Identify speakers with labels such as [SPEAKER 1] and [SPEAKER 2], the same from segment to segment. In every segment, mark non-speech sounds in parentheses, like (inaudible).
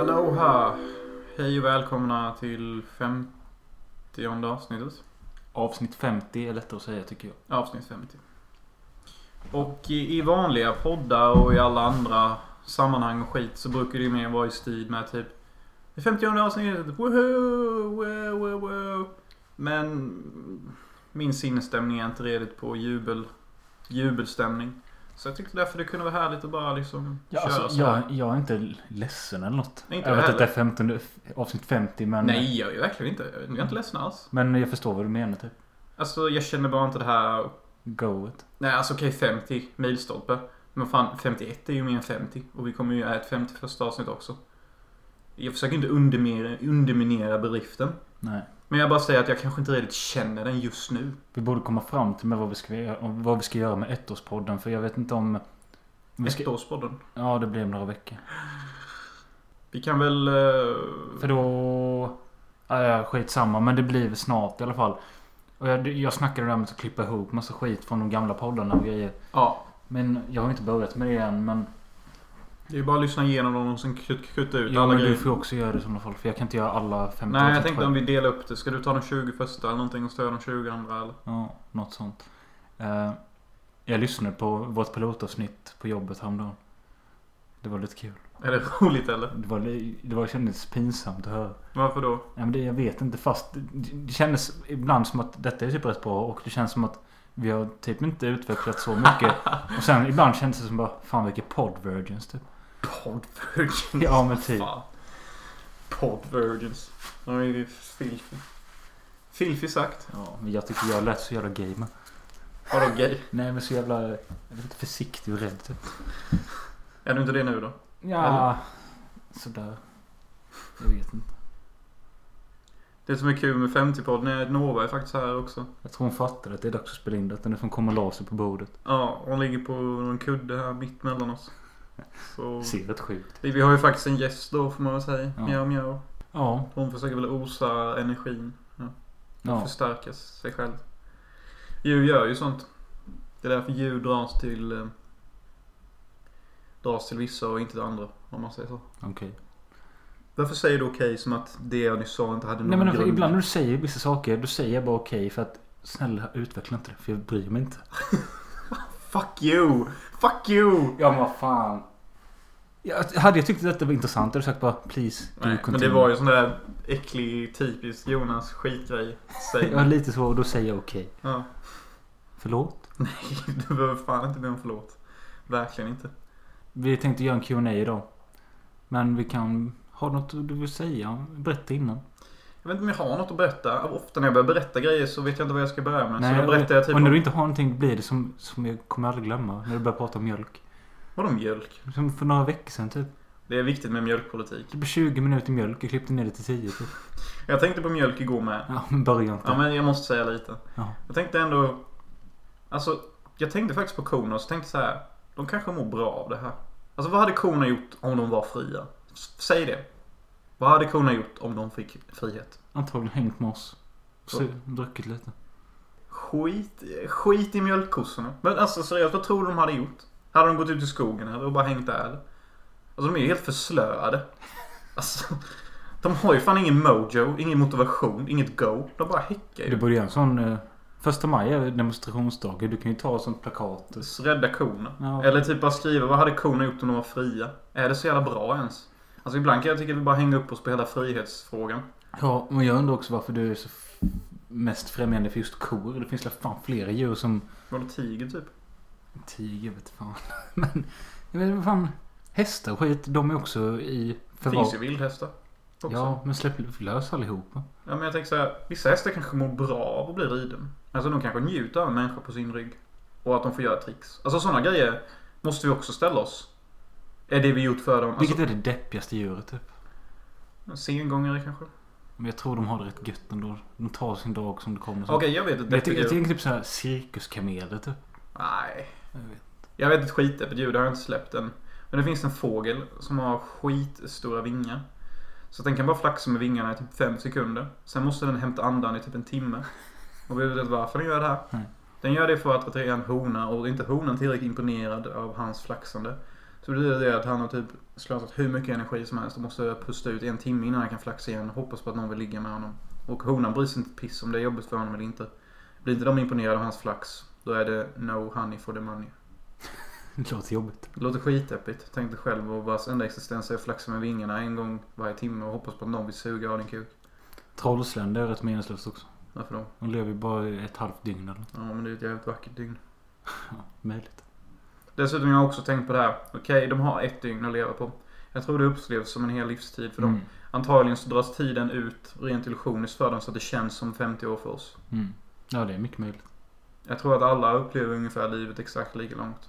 [SPEAKER 1] Aloha! Hej och välkomna till 50 avsnittet.
[SPEAKER 2] Avsnitt 50 är lättare att säga tycker jag.
[SPEAKER 1] Avsnitt 50. Och i, i vanliga poddar och i alla andra sammanhang och skit så brukar det ju mer vara i stil med typ Det 50 avsnittet, woho, wow, wow, wow. Men min sinnesstämning är inte redigt på jubel, jubelstämning. Så jag tyckte därför det kunde vara härligt att bara liksom
[SPEAKER 2] Ja,
[SPEAKER 1] köra
[SPEAKER 2] alltså,
[SPEAKER 1] så här.
[SPEAKER 2] jag, jag är inte ledsen eller något.
[SPEAKER 1] Inte
[SPEAKER 2] jag
[SPEAKER 1] jag
[SPEAKER 2] vet att det är 15, avsnitt 50 men,
[SPEAKER 1] Nej, jag är verkligen inte. Jag är inte ledsen alls.
[SPEAKER 2] men jag förstår vad du menar typ.
[SPEAKER 1] Alltså jag känner bara inte det här
[SPEAKER 2] Goet.
[SPEAKER 1] Nej, alltså okej 50 milstolpe. Men fan, 51 är ju mer än 50. Och vi kommer ju göra ett 51 avsnitt också. Jag försöker inte underminera, underminera bedriften.
[SPEAKER 2] Nej.
[SPEAKER 1] Men jag bara säger att jag kanske inte riktigt känner den just nu.
[SPEAKER 2] Vi borde komma fram till med vad vi ska, göra- om vad vi ska göra med ettårspodden för jag vet inte om... Vi ska,
[SPEAKER 1] Ettårspodden.
[SPEAKER 2] ja, det blir om några veckor.
[SPEAKER 1] Vi kan väl... eh,
[SPEAKER 2] För då... Ja, ja, skitsamma men det blir väl snart i alla fall. Och jag, jag snackade där med att klippa ihop massa skit från de gamla poddarna och grejer.
[SPEAKER 1] Ja,
[SPEAKER 2] Men jag har inte börjat med det än men...
[SPEAKER 1] det är bara att lyssna igenom dem och sen kut- kutta ut
[SPEAKER 2] Ja,
[SPEAKER 1] alla
[SPEAKER 2] men du
[SPEAKER 1] grejer.
[SPEAKER 2] får också göra det i sådana fall. För jag kan inte göra alla 50
[SPEAKER 1] Nej, jag
[SPEAKER 2] avsnitt
[SPEAKER 1] tänkte
[SPEAKER 2] själv.
[SPEAKER 1] om vi delar upp det. Ska du ta de 20 första eller någonting och störa de 20 andra eller?
[SPEAKER 2] Ja, något sånt. Eh, jag lyssnade på vårt pilotavsnitt på jobbet häromdagen. Det var lite kul.
[SPEAKER 1] Är det roligt eller? (laughs)
[SPEAKER 2] Det, var, li- det var, kändes pinsamt att höra.
[SPEAKER 1] Varför då?
[SPEAKER 2] Nej, men det, jag vet inte. Fast det, det kändes ibland som att detta är typ rätt bra. Och det känns som att vi har typ inte utvecklat så mycket.
[SPEAKER 1] (laughs)
[SPEAKER 2] och sen ibland kändes det som bara fan vilka podd-virgins typ.
[SPEAKER 1] Pod virgins.
[SPEAKER 2] Ja, men typ.
[SPEAKER 1] Fan. Pod virgins. De är ju filfi. Filfi sagt.
[SPEAKER 2] Ja, men jag tycker jag lät så jävla gay men.
[SPEAKER 1] Vadå gay?
[SPEAKER 2] Nej men så jävla jag vet inte, försiktig och rädd typ.
[SPEAKER 1] Är du inte det nu då?
[SPEAKER 2] Ja,
[SPEAKER 1] Eller?
[SPEAKER 2] sådär. Jag vet inte.
[SPEAKER 1] Det som är kul med 50-podden är att Nova är faktiskt här också.
[SPEAKER 2] Jag tror hon fattade att det är dags att spela in detta nu för hon kommer och la sig på bordet.
[SPEAKER 1] Ja, hon ligger på en kudde här mitt mellan oss. Så...
[SPEAKER 2] Ser rätt sjukt.
[SPEAKER 1] Vi vi har ju faktiskt en gäst då får man väl säga.
[SPEAKER 2] Ja.
[SPEAKER 1] Mjau mjau.
[SPEAKER 2] Ja.
[SPEAKER 1] Hon försöker väl osa energin. Och
[SPEAKER 2] ja.
[SPEAKER 1] förstärka sig själv. Djur gör ju sånt. Det är därför djur dras till... Eh, dras till vissa och inte till andra. Om man säger så.
[SPEAKER 2] Okej.
[SPEAKER 1] Varför säger du okej som att det jag nyss sa inte hade någon
[SPEAKER 2] Nej men alltså,
[SPEAKER 1] grund?
[SPEAKER 2] ibland när du säger vissa saker då säger jag bara okej för att snälla utveckla inte det för jag bryr mig inte.
[SPEAKER 1] Fuck you! Fuck you!
[SPEAKER 2] Ja men vad fan. Jag, hade jag tyckt att detta var intressant hade jag sagt bara please do
[SPEAKER 1] Nej, men det
[SPEAKER 2] continue."
[SPEAKER 1] var ju sån där äcklig, typisk Jonas skitgrej. Säg
[SPEAKER 2] (laughs) Ja lite så och då säger jag okej.
[SPEAKER 1] ja.
[SPEAKER 2] Förlåt?
[SPEAKER 1] Nej, du behöver fan inte be om förlåt. Verkligen inte.
[SPEAKER 2] Vi tänkte göra en Q&A idag. Men vi kan... Har du något du vill säga? Berätta innan.
[SPEAKER 1] Jag vet inte om jag har något att berätta. Ofta när jag börjar berätta grejer så vet jag inte vad jag ska börja med. så då
[SPEAKER 2] och-
[SPEAKER 1] berättar jag typ
[SPEAKER 2] och när du
[SPEAKER 1] om...
[SPEAKER 2] inte har någonting blir det som, som jag kommer aldrig glömma. När du börjar prata om mjölk.
[SPEAKER 1] Vadå mjölk?
[SPEAKER 2] Som för några veckor sedan typ.
[SPEAKER 1] Det är viktigt med mjölkpolitik.
[SPEAKER 2] Typ 20 minuter mjölk. Jag klippte ner det till 10 typ.
[SPEAKER 1] Jag tänkte på mjölk igår med.
[SPEAKER 2] Ja, men börja inte.
[SPEAKER 1] Ja, men jag måste säga lite.
[SPEAKER 2] Ja.
[SPEAKER 1] Jag tänkte ändå... Alltså, jag tänkte faktiskt på korna och så tänkte jag så här. De kanske mår bra av det här. Alltså vad hade korna gjort om de var fria? S- Säg det. Vad hade korna gjort om de fick frihet?
[SPEAKER 2] Antagligen hängt med oss. Så, druckit lite.
[SPEAKER 1] Skit, skit i mjölkkossorna. Men alltså seriöst, vad tror du de hade gjort? Hade de gått ut i skogen eller och bara hängt där? eller? Alltså de är ju helt förslöade. Alltså, de har ju fan ingen mojo, ingen motivation, inget go. De bara häckar
[SPEAKER 2] Du
[SPEAKER 1] ju.
[SPEAKER 2] borde göra en sån... Eh, första maj är demonstrationsdagen. Du kan ju ta ett sånt plakat.
[SPEAKER 1] Rädda korna.
[SPEAKER 2] Ja.
[SPEAKER 1] Eller typ bara skriva vad hade korna gjort om de var fria? Är det så jävla bra ens? Alltså ibland kan jag tycka att vi bara hänger upp oss på hela frihetsfrågan.
[SPEAKER 2] Ja, men jag undrar också varför du är så f- mest främjande för just kor. Det finns väl fan flera djur som...
[SPEAKER 1] Var det tiger typ?
[SPEAKER 2] Tiger vet fan. (laughs) Men... Jag vet inte, fan. Hästar och skit. De är också i
[SPEAKER 1] Det
[SPEAKER 2] förvar.
[SPEAKER 1] finns ju vildhästar. Också. Alltså-
[SPEAKER 2] Ja, men släpp lös allihopa.
[SPEAKER 1] Ja, men jag tänker så här, vissa hästar kanske mår bra av att bli riden. Alltså de kanske njuter av en människa på sin rygg. Och att de får göra tricks. Alltså sådana grejer måste vi också ställa oss. Är det vi gjort för dem? Alltså,
[SPEAKER 2] Vilket är det deppigaste djuret typ?
[SPEAKER 1] Sengångare kanske?
[SPEAKER 2] Alltså- Men jag tror de har det rätt gött ändå. De tar sin dag som det kommer.
[SPEAKER 1] Okej, jag vet ett
[SPEAKER 2] jag, ty-
[SPEAKER 1] deppigt
[SPEAKER 2] jag
[SPEAKER 1] djur.
[SPEAKER 2] tänker typ såhär cirkuskameler typ.
[SPEAKER 1] Nej.
[SPEAKER 2] Jag vet.
[SPEAKER 1] Jag vet ett skitdeppigt djur, det har jag inte släppt än. Men det finns en fågel som har skitstora vingar. Så att den kan bara flaxa med vingarna i typ fem sekunder. Sen måste den hämta andan i typ en timme. Och vi vet varför den gör det här.
[SPEAKER 2] Nej.
[SPEAKER 1] Den gör det för att attrahera en hona och är inte honan tillräckligt imponerad av hans flaxande. Så det är det att han har typ slösat hur mycket energi som helst och måste pusta ut en timme innan han kan flaxa igen. Hoppas på att någon vill ligga med honom. Och honan bryr sig inte ett piss om det är jobbigt för honom eller inte. Blir inte de imponerade av hans flax, då är det no honey for the money.
[SPEAKER 2] Det låter jobbigt.
[SPEAKER 1] Det låter skitdeppigt. Tänk dig själv och vars enda existens är att flaxa med vingarna en gång varje timme och hoppas på att någon vill suga av din kuk.
[SPEAKER 2] Trollslön, det är rätt meningslöst också.
[SPEAKER 1] Varför då?
[SPEAKER 2] De lever ju bara i ett halvt dygn eller något.
[SPEAKER 1] Ja, men det är ett jävligt vackert dygn.
[SPEAKER 2] Möjligt.
[SPEAKER 1] Dessutom har jag också tänkt på det här. Okej, de har ett dygn att leva på. Jag tror det upplevs som en hel livstid för dem.
[SPEAKER 2] Mm.
[SPEAKER 1] Antagligen så dras tiden ut rent illusioniskt för dem så att det känns som 50 år för oss.
[SPEAKER 2] Mm. Ja, det är mycket möjligt.
[SPEAKER 1] Jag tror att alla upplever ungefär livet exakt lika långt.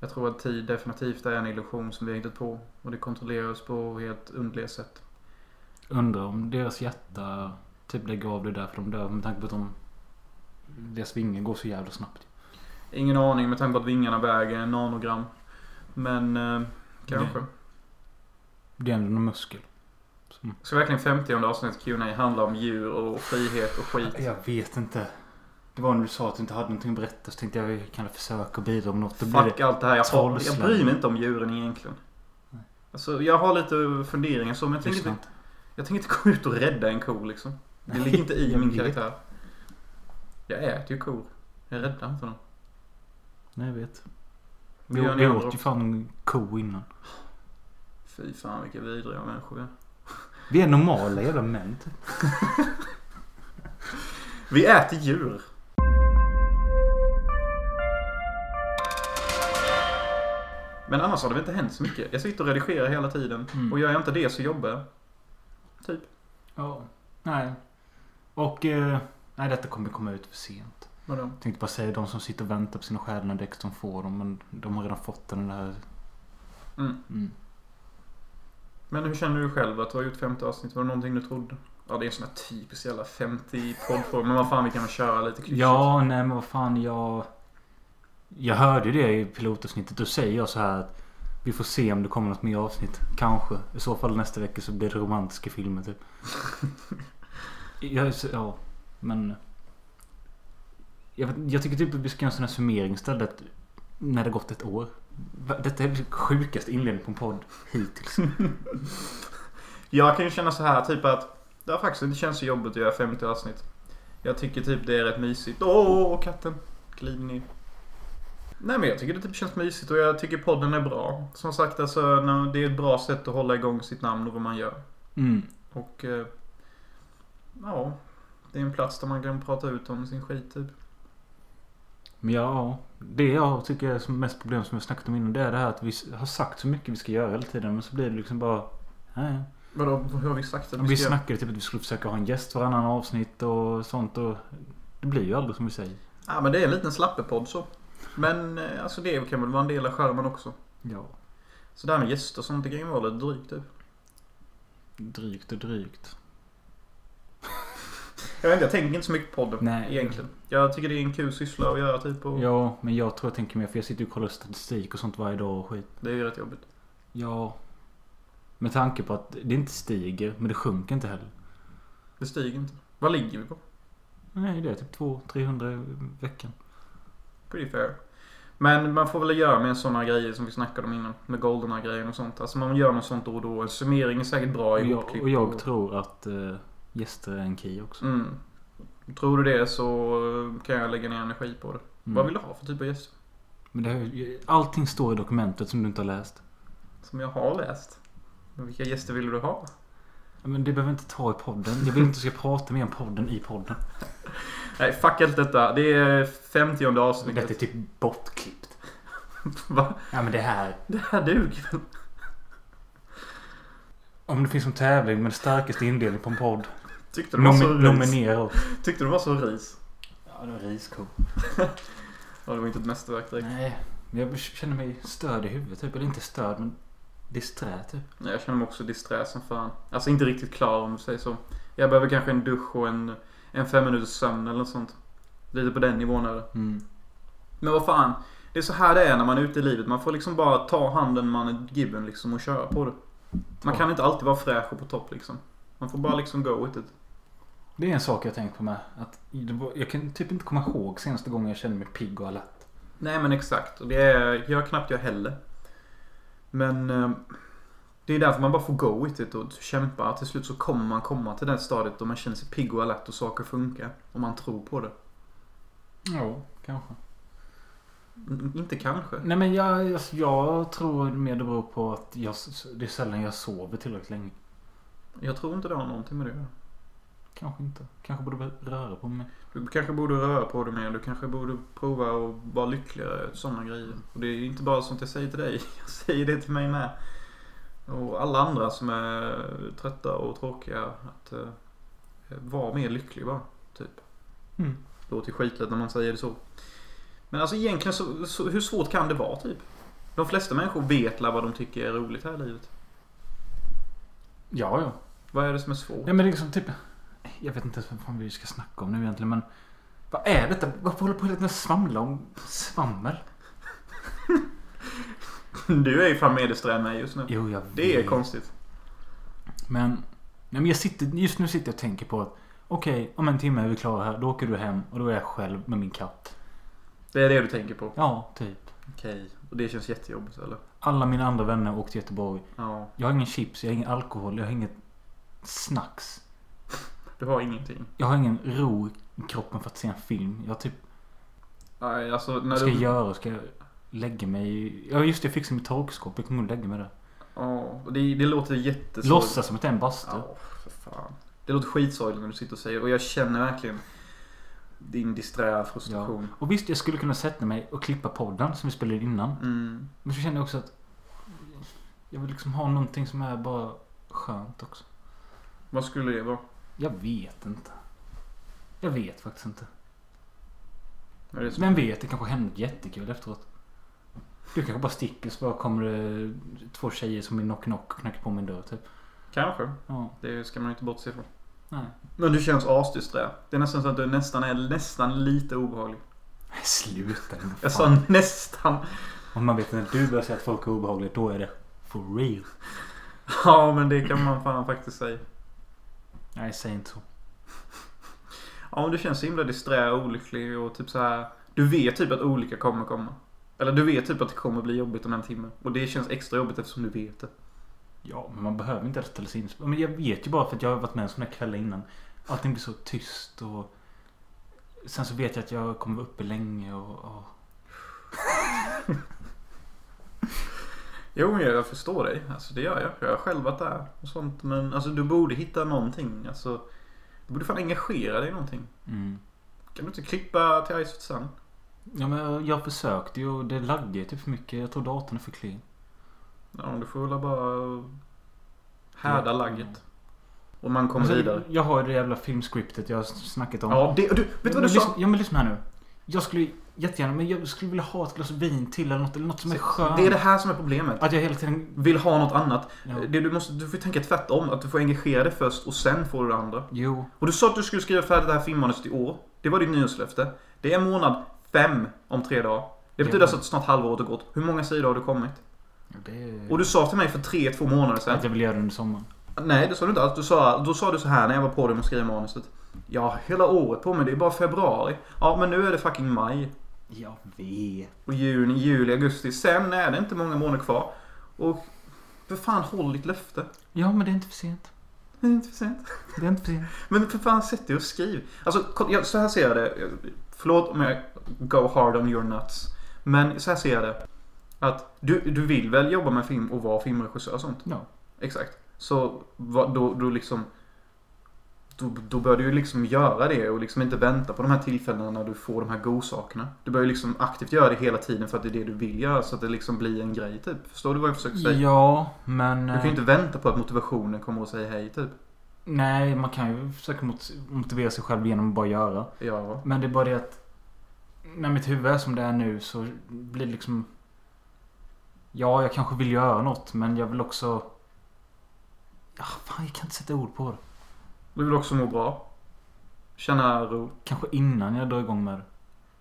[SPEAKER 1] Jag tror att tid definitivt är en illusion som vi har hittat på. Och det kontrolleras på helt underliga sätt.
[SPEAKER 2] Undrar om deras hjärta typ lägger av det är därför de dör. Med tanke på att de... Deras vingar går så jävla snabbt.
[SPEAKER 1] Ingen aning med tanke på att vingarna väger en nanogram. Men eh, kanske.
[SPEAKER 2] Det är ändå en muskel. Som...
[SPEAKER 1] Ska verkligen 50 avsnittet Q&A handla om djur och frihet och skit?
[SPEAKER 2] Jag vet inte. Det var när du sa att du inte hade någonting att berätta så tänkte jag vi kan försöka bidra med något. Då blir
[SPEAKER 1] Fuck
[SPEAKER 2] det...
[SPEAKER 1] allt det här. Jag, har, jag
[SPEAKER 2] Trollsläng.
[SPEAKER 1] bryr mig inte om djuren egentligen.
[SPEAKER 2] Nej.
[SPEAKER 1] Alltså, jag har lite funderingar så men jag tänker,
[SPEAKER 2] Lyssna
[SPEAKER 1] inte,
[SPEAKER 2] inte.
[SPEAKER 1] jag tänker inte gå ut och rädda en ko liksom. Det ligger inte i
[SPEAKER 2] Jag
[SPEAKER 1] min
[SPEAKER 2] vet.
[SPEAKER 1] karaktär. Jag äter ju kor. Jag räddar inte dem.
[SPEAKER 2] Nej, jag vet.
[SPEAKER 1] Det
[SPEAKER 2] Vi,
[SPEAKER 1] gör ni
[SPEAKER 2] vi
[SPEAKER 1] andra
[SPEAKER 2] åt ju
[SPEAKER 1] också.
[SPEAKER 2] fan en ko innan.
[SPEAKER 1] Fy fan vilka vidriga människor vi är.
[SPEAKER 2] Vi är normala jävla män typ.
[SPEAKER 1] Vi äter djur. Men annars har det väl inte hänt så mycket. Jag sitter och redigerar hela tiden.
[SPEAKER 2] Mm.
[SPEAKER 1] Och gör jag inte det så jobbar jag.
[SPEAKER 2] Ja. Nej. Och... Eh, nej, detta kommer komma ut för sent.
[SPEAKER 1] Vadå?
[SPEAKER 2] Jag tänkte bara säga de som sitter och väntar på sina stjärnadäck de får dem. Men de har redan fått den där...
[SPEAKER 1] Mm.
[SPEAKER 2] Mm.
[SPEAKER 1] Men hur känner du själv att du har gjort 50 avsnitt? Var det någonting du trodde? Ja, det är en sån här typisk jävla 50 poddform. Men vad fan, vi kan väl köra lite klyschigt.
[SPEAKER 2] Ja, nej men vad fan jag... Jag hörde ju det i pilotavsnittet. Då säger jag så här att vi får se om det kommer något mer avsnitt. Kanske. I så fall nästa vecka så blir det romantiska filmer typ. jag, är så- ja, men... Jag, vet- jag tycker typ att vi ska göra en sån här summering istället. När det gått ett år. Va- Detta är den sjukaste inledningen på en podd hittills.
[SPEAKER 1] Jag kan ju känna så här typ att det har faktiskt inte känts så jobbigt att göra 50 avsnitt. Jag tycker typ det är rätt mysigt. Åh, katten! Glid ner. Nej men jag tycker det typ känns mysigt och jag tycker podden är bra. Som sagt alltså, när- det är ett bra sätt att hålla igång sitt namn och vad man gör.
[SPEAKER 2] Mm.
[SPEAKER 1] Och eh, ja, det är en plats där man kan prata ut om sin skit typ.
[SPEAKER 2] Men ja, det jag tycker är som mest problem som jag snackat om innan det är det här att vi s- har sagt så mycket vi ska göra hela tiden men så blir det liksom bara... Nej.
[SPEAKER 1] Vadå, hur har vi sagt att
[SPEAKER 2] Vi
[SPEAKER 1] ska göra?
[SPEAKER 2] snackade typ att vi skulle försöka ha en gäst varannan avsnitt och sånt och... Det blir ju aldrig som vi säger.
[SPEAKER 1] Ja men det är en liten slappepodd så. Men eh, alltså det kan väl vara en del av skärmen också.
[SPEAKER 2] Ja.
[SPEAKER 1] Så det här med gäster och sånt det kan ju vara lite drygt typ.
[SPEAKER 2] Drygt och drygt.
[SPEAKER 1] Jag vet inte, jag tänker inte så mycket på podden
[SPEAKER 2] Nej.
[SPEAKER 1] egentligen. Jag tycker det är en kul syssla att göra typ och
[SPEAKER 2] Ja, men jag tror jag tänker mer för jag sitter ju och kollar statistik och sånt varje dag och skit.
[SPEAKER 1] det är ju rätt jobbigt.
[SPEAKER 2] Ja. Med tanke på att det inte stiger, men det sjunker inte heller.
[SPEAKER 1] Det stiger inte. Vad ligger vi på?
[SPEAKER 2] Nej, det är typ 200-300 i veckan.
[SPEAKER 1] Pretty fair. Men man får väl göra med sådana grejer som vi snackade om innan. Med Goldeneye-grejen och sånt. Alltså man gör något sånt då och då. En summering är säkert bra
[SPEAKER 2] Och
[SPEAKER 1] i
[SPEAKER 2] jag, och jag tror att eh, gäster är en key också.
[SPEAKER 1] Mm. Tror du det så eh, kan jag lägga ner energi på det.
[SPEAKER 2] Mm.
[SPEAKER 1] Vad vill du ha för typ av gäster?
[SPEAKER 2] Men det, har ju- allting står i dokumentet som du inte har läst.
[SPEAKER 1] Som jag har läst. Men vilka gäster vill du ha?
[SPEAKER 2] Men det behöver vi inte ta i podden. Jag vill inte att du ska prata mer om podden i podden.
[SPEAKER 1] Nej, fuck allt detta. Det är 50 avsnittet.
[SPEAKER 2] Detta är typ bortklippt.
[SPEAKER 1] (laughs) Va?
[SPEAKER 2] Ja men det här.
[SPEAKER 1] Det här duger väl?
[SPEAKER 2] Om det finns en tävling med den starkaste indelning på en podd.
[SPEAKER 1] Tyckte du var så
[SPEAKER 2] Nomi-
[SPEAKER 1] ris?
[SPEAKER 2] nominera oss.
[SPEAKER 1] Tyckte du var så ris?
[SPEAKER 2] Ja, det var risko.
[SPEAKER 1] Ja, det var inte ett mästerverk direkt.
[SPEAKER 2] Nej, men jag känner mig störd i huvudet typ. Eller inte störd men disträ typ.
[SPEAKER 1] Nej. Jag känner mig också disträ som fan. Alltså inte riktigt klar om du säger så. Jag behöver kanske en dusch och en, en fem minuters sömn eller något sånt. Lite på den nivån är det.
[SPEAKER 2] Mm.
[SPEAKER 1] Men vad fan. Det är så här det är när man är ute i livet. Man får liksom bara ta handen man är given liksom och köra på det. Man kan inte alltid vara fräsch och på topp liksom. Man får bara liksom go with it.
[SPEAKER 2] Det är en sak jag tänkt på med. Att det var- jag kan typ inte komma ihåg senaste gången jag kände mig pigg och alert.
[SPEAKER 1] Nej men exakt. Och det är, gör knappt jag heller. Men eh, det är därför man bara får go with it och kämpa. Till slut så kommer man komma till det stadiet då man känner sig pigg och alert och saker funkar. Och man tror på det.
[SPEAKER 2] Ja, kanske.
[SPEAKER 1] N- inte kanske.
[SPEAKER 2] Nej men jag, jag, jag tror mer det beror på att jag, s- det är sällan jag sover tillräckligt länge.
[SPEAKER 1] Jag tror inte det har någonting med det att göra.
[SPEAKER 2] Kanske inte. Kanske borde börja röra på mig.
[SPEAKER 1] Du kanske borde röra på dig mer. Du kanske borde prova att vara lyckligare. Sådana grejer. Och det är inte bara sånt jag säger till dig. (laughs) Jag säger det till mig med. Och alla andra som är trötta och tråkiga. Att eh, vara mer lycklig bara. Typ.
[SPEAKER 2] Mm.
[SPEAKER 1] Låter ju skitlätt när man säger det så. Men alltså egentligen så, så hur svårt kan det vara typ? De flesta människor vet la vad de tycker är roligt här i livet.
[SPEAKER 2] Ja, ja.
[SPEAKER 1] Vad är det som är svårt? (laughs)
[SPEAKER 2] Nej men liksom typ. Jag vet inte ens vad fan vi ska snacka om nu egentligen men. Vad är detta? Varför håller på hela tiden och svamla om svammel?
[SPEAKER 1] Du är ju fan medelsträv med just nu.
[SPEAKER 2] Jo, jag
[SPEAKER 1] Det är
[SPEAKER 2] vet.
[SPEAKER 1] konstigt.
[SPEAKER 2] Men, nej, men jag sitter, just nu sitter jag och tänker på att okej, om en timme är vi klara här. Då åker du hem och då är jag själv med min katt.
[SPEAKER 1] Det är det du tänker på.
[SPEAKER 2] Ja, typ.
[SPEAKER 1] Okej. Och det känns jättejobbigt eller?
[SPEAKER 2] Alla mina andra vänner åkte till Göteborg.
[SPEAKER 1] Ja.
[SPEAKER 2] Jag har ingen chips, jag har ingen alkohol, jag har inget snacks.
[SPEAKER 1] Du har ingenting.
[SPEAKER 2] Jag har ingen ro i kroppen för att se en film. Jag typ,
[SPEAKER 1] Nej, alltså när
[SPEAKER 2] vad ska
[SPEAKER 1] du...
[SPEAKER 2] jag göra? Ska jag lägga mig? i- Ja just det, jag fixar mitt torkskåp. Jag kommer att lägga mig där.
[SPEAKER 1] Ja, och det, det låter jättesorgligt.
[SPEAKER 2] Låtsas som att det är en bastu.
[SPEAKER 1] Ja, för fan. Det låter skitsorgligt när du sitter och säger det. Och jag känner verkligen din disträa frustration.
[SPEAKER 2] Och visst, jag skulle kunna sätta mig och klippa podden som vi spelade in innan.
[SPEAKER 1] Mm.
[SPEAKER 2] Men så känner jag också att jag vill liksom ha någonting som är bara skönt också.
[SPEAKER 1] Vad skulle det vara?
[SPEAKER 2] Jag vet inte. Jag vet faktiskt inte.
[SPEAKER 1] Vad är det som-
[SPEAKER 2] Vem vet, det kanske händer något jättekul efteråt. Du kanske bara sticker så bara kommer det två tjejer som vill knock-knock och knackar på min dörr typ.
[SPEAKER 1] Kanske.
[SPEAKER 2] Ja,
[SPEAKER 1] Det ska man ju inte bortse ifrån.
[SPEAKER 2] nej.
[SPEAKER 1] Men du känns asdisträ. Det är nästan så att du nästan är nästan lite obehaglig.
[SPEAKER 2] Nej, Sluta nu.
[SPEAKER 1] Jag
[SPEAKER 2] fan.
[SPEAKER 1] sa nästan. (laughs)
[SPEAKER 2] Om man vet när du börjar säga att folk är obehagliga, då är det for real.
[SPEAKER 1] Ja, men det kan man fan faktiskt säga.
[SPEAKER 2] Nej, säg inte så.
[SPEAKER 1] Ja, men du känns så himla disträ och olycklig och typ så här. Du vet typ att olycka kommer komma. Eller du vet typ att det kommer bli jobbigt om en timme. Och det känns extra jobbigt eftersom du vet det.
[SPEAKER 2] Ja, men man behöver inte ställa sig in. Men jag vet ju bara för att jag har varit med en sån här kväll innan. Allting blir så tyst och... Sen så vet jag att jag kommer vara uppe länge och... och...
[SPEAKER 1] Jo, men jag förstår dig. Alltså det gör jag. Jag har själv varit där och sånt. Men alltså du borde hitta någonting. Alltså, du borde fan engagera dig i någonting.
[SPEAKER 2] Mm.
[SPEAKER 1] Kan du inte klippa till Ice sen?
[SPEAKER 2] Ja, men jag, jag försökte ju och det laggade ju typ för mycket. Jag tror datorn är för klen.
[SPEAKER 1] Ja, du får väl bara härda
[SPEAKER 2] Ja.
[SPEAKER 1] lagget. Och man kommer
[SPEAKER 2] Alltså,
[SPEAKER 1] vidare.
[SPEAKER 2] Jag har ju det jävla filmscriptet jag har snackat om.
[SPEAKER 1] Ja, det, du, vet
[SPEAKER 2] Men
[SPEAKER 1] du vad du
[SPEAKER 2] lyssna,
[SPEAKER 1] sa?
[SPEAKER 2] Ja, men lyssna här nu. Jag skulle ju jättegärna, men jag skulle vilja ha ett glas vin till eller något, eller något som är skönt.
[SPEAKER 1] Det Eh, är det här som är problemet.
[SPEAKER 2] Att jag hela tiden...
[SPEAKER 1] Vill ha något annat.
[SPEAKER 2] Ja.
[SPEAKER 1] Det du, måste, du får tänka tvärtom. Att du får engagera dig först och sen får du det andra.
[SPEAKER 2] Jo.
[SPEAKER 1] Och du sa att du skulle skriva färdigt det här filmmanuset i år. Det var ditt nyårslöfte. Det är månad fem om tre dagar. Det betyder
[SPEAKER 2] Ja.
[SPEAKER 1] alltså att snart halvåret har gått. Hur många sidor har du kommit?
[SPEAKER 2] Det...
[SPEAKER 1] Och du sa till mig för tre, två månader sedan.
[SPEAKER 2] Att jag vill göra det under sommaren.
[SPEAKER 1] Nej, det sa du inte alls. Du sa, då sa du så här när jag var på dig med att skriva manuset. Jag har hela året på mig. Det är bara februari. Ja, men nu är det fucking maj.
[SPEAKER 2] Jag vet.
[SPEAKER 1] Och juni, juli, augusti. Sen är det inte många månader kvar. Och för fan, håll ditt löfte. (laughs)
[SPEAKER 2] Ja, men det är inte för sent.
[SPEAKER 1] Det är inte för sent.
[SPEAKER 2] Det är inte för sent.
[SPEAKER 1] Men för fan, sätt dig och skriv. Alltså, kolla, jag, så här ser jag det. Jag- Förlåt om jag go hard on your nuts. Men så här ser jag det. Att du, du vill väl jobba med film och vara filmregissör och sånt?
[SPEAKER 2] Ja.
[SPEAKER 1] Exakt. Så vad, då, då liksom... Då, då bör du ju liksom göra det och liksom inte vänta på de här tillfällena när du får de här godsakerna. Du bör ju liksom aktivt göra det hela tiden för att det är det du vill göra så att det liksom blir en grej typ. Förstår du vad jag försöker säga?
[SPEAKER 2] Ja, men...
[SPEAKER 1] Du kan ju
[SPEAKER 2] eh,
[SPEAKER 1] inte vänta på att motivationen kommer och säger hej typ.
[SPEAKER 2] Nej, man kan ju försöka mot- motivera sig själv genom att bara göra.
[SPEAKER 1] Ja.
[SPEAKER 2] Men det är bara det att... När mitt huvud är som det är nu så blir det liksom... Ja, jag kanske vill göra något, men jag vill också... Ja, fan, jag kan inte sätta ord på det.
[SPEAKER 1] Du vill också må bra. Känna ro.
[SPEAKER 2] Kanske innan jag drar igång med det.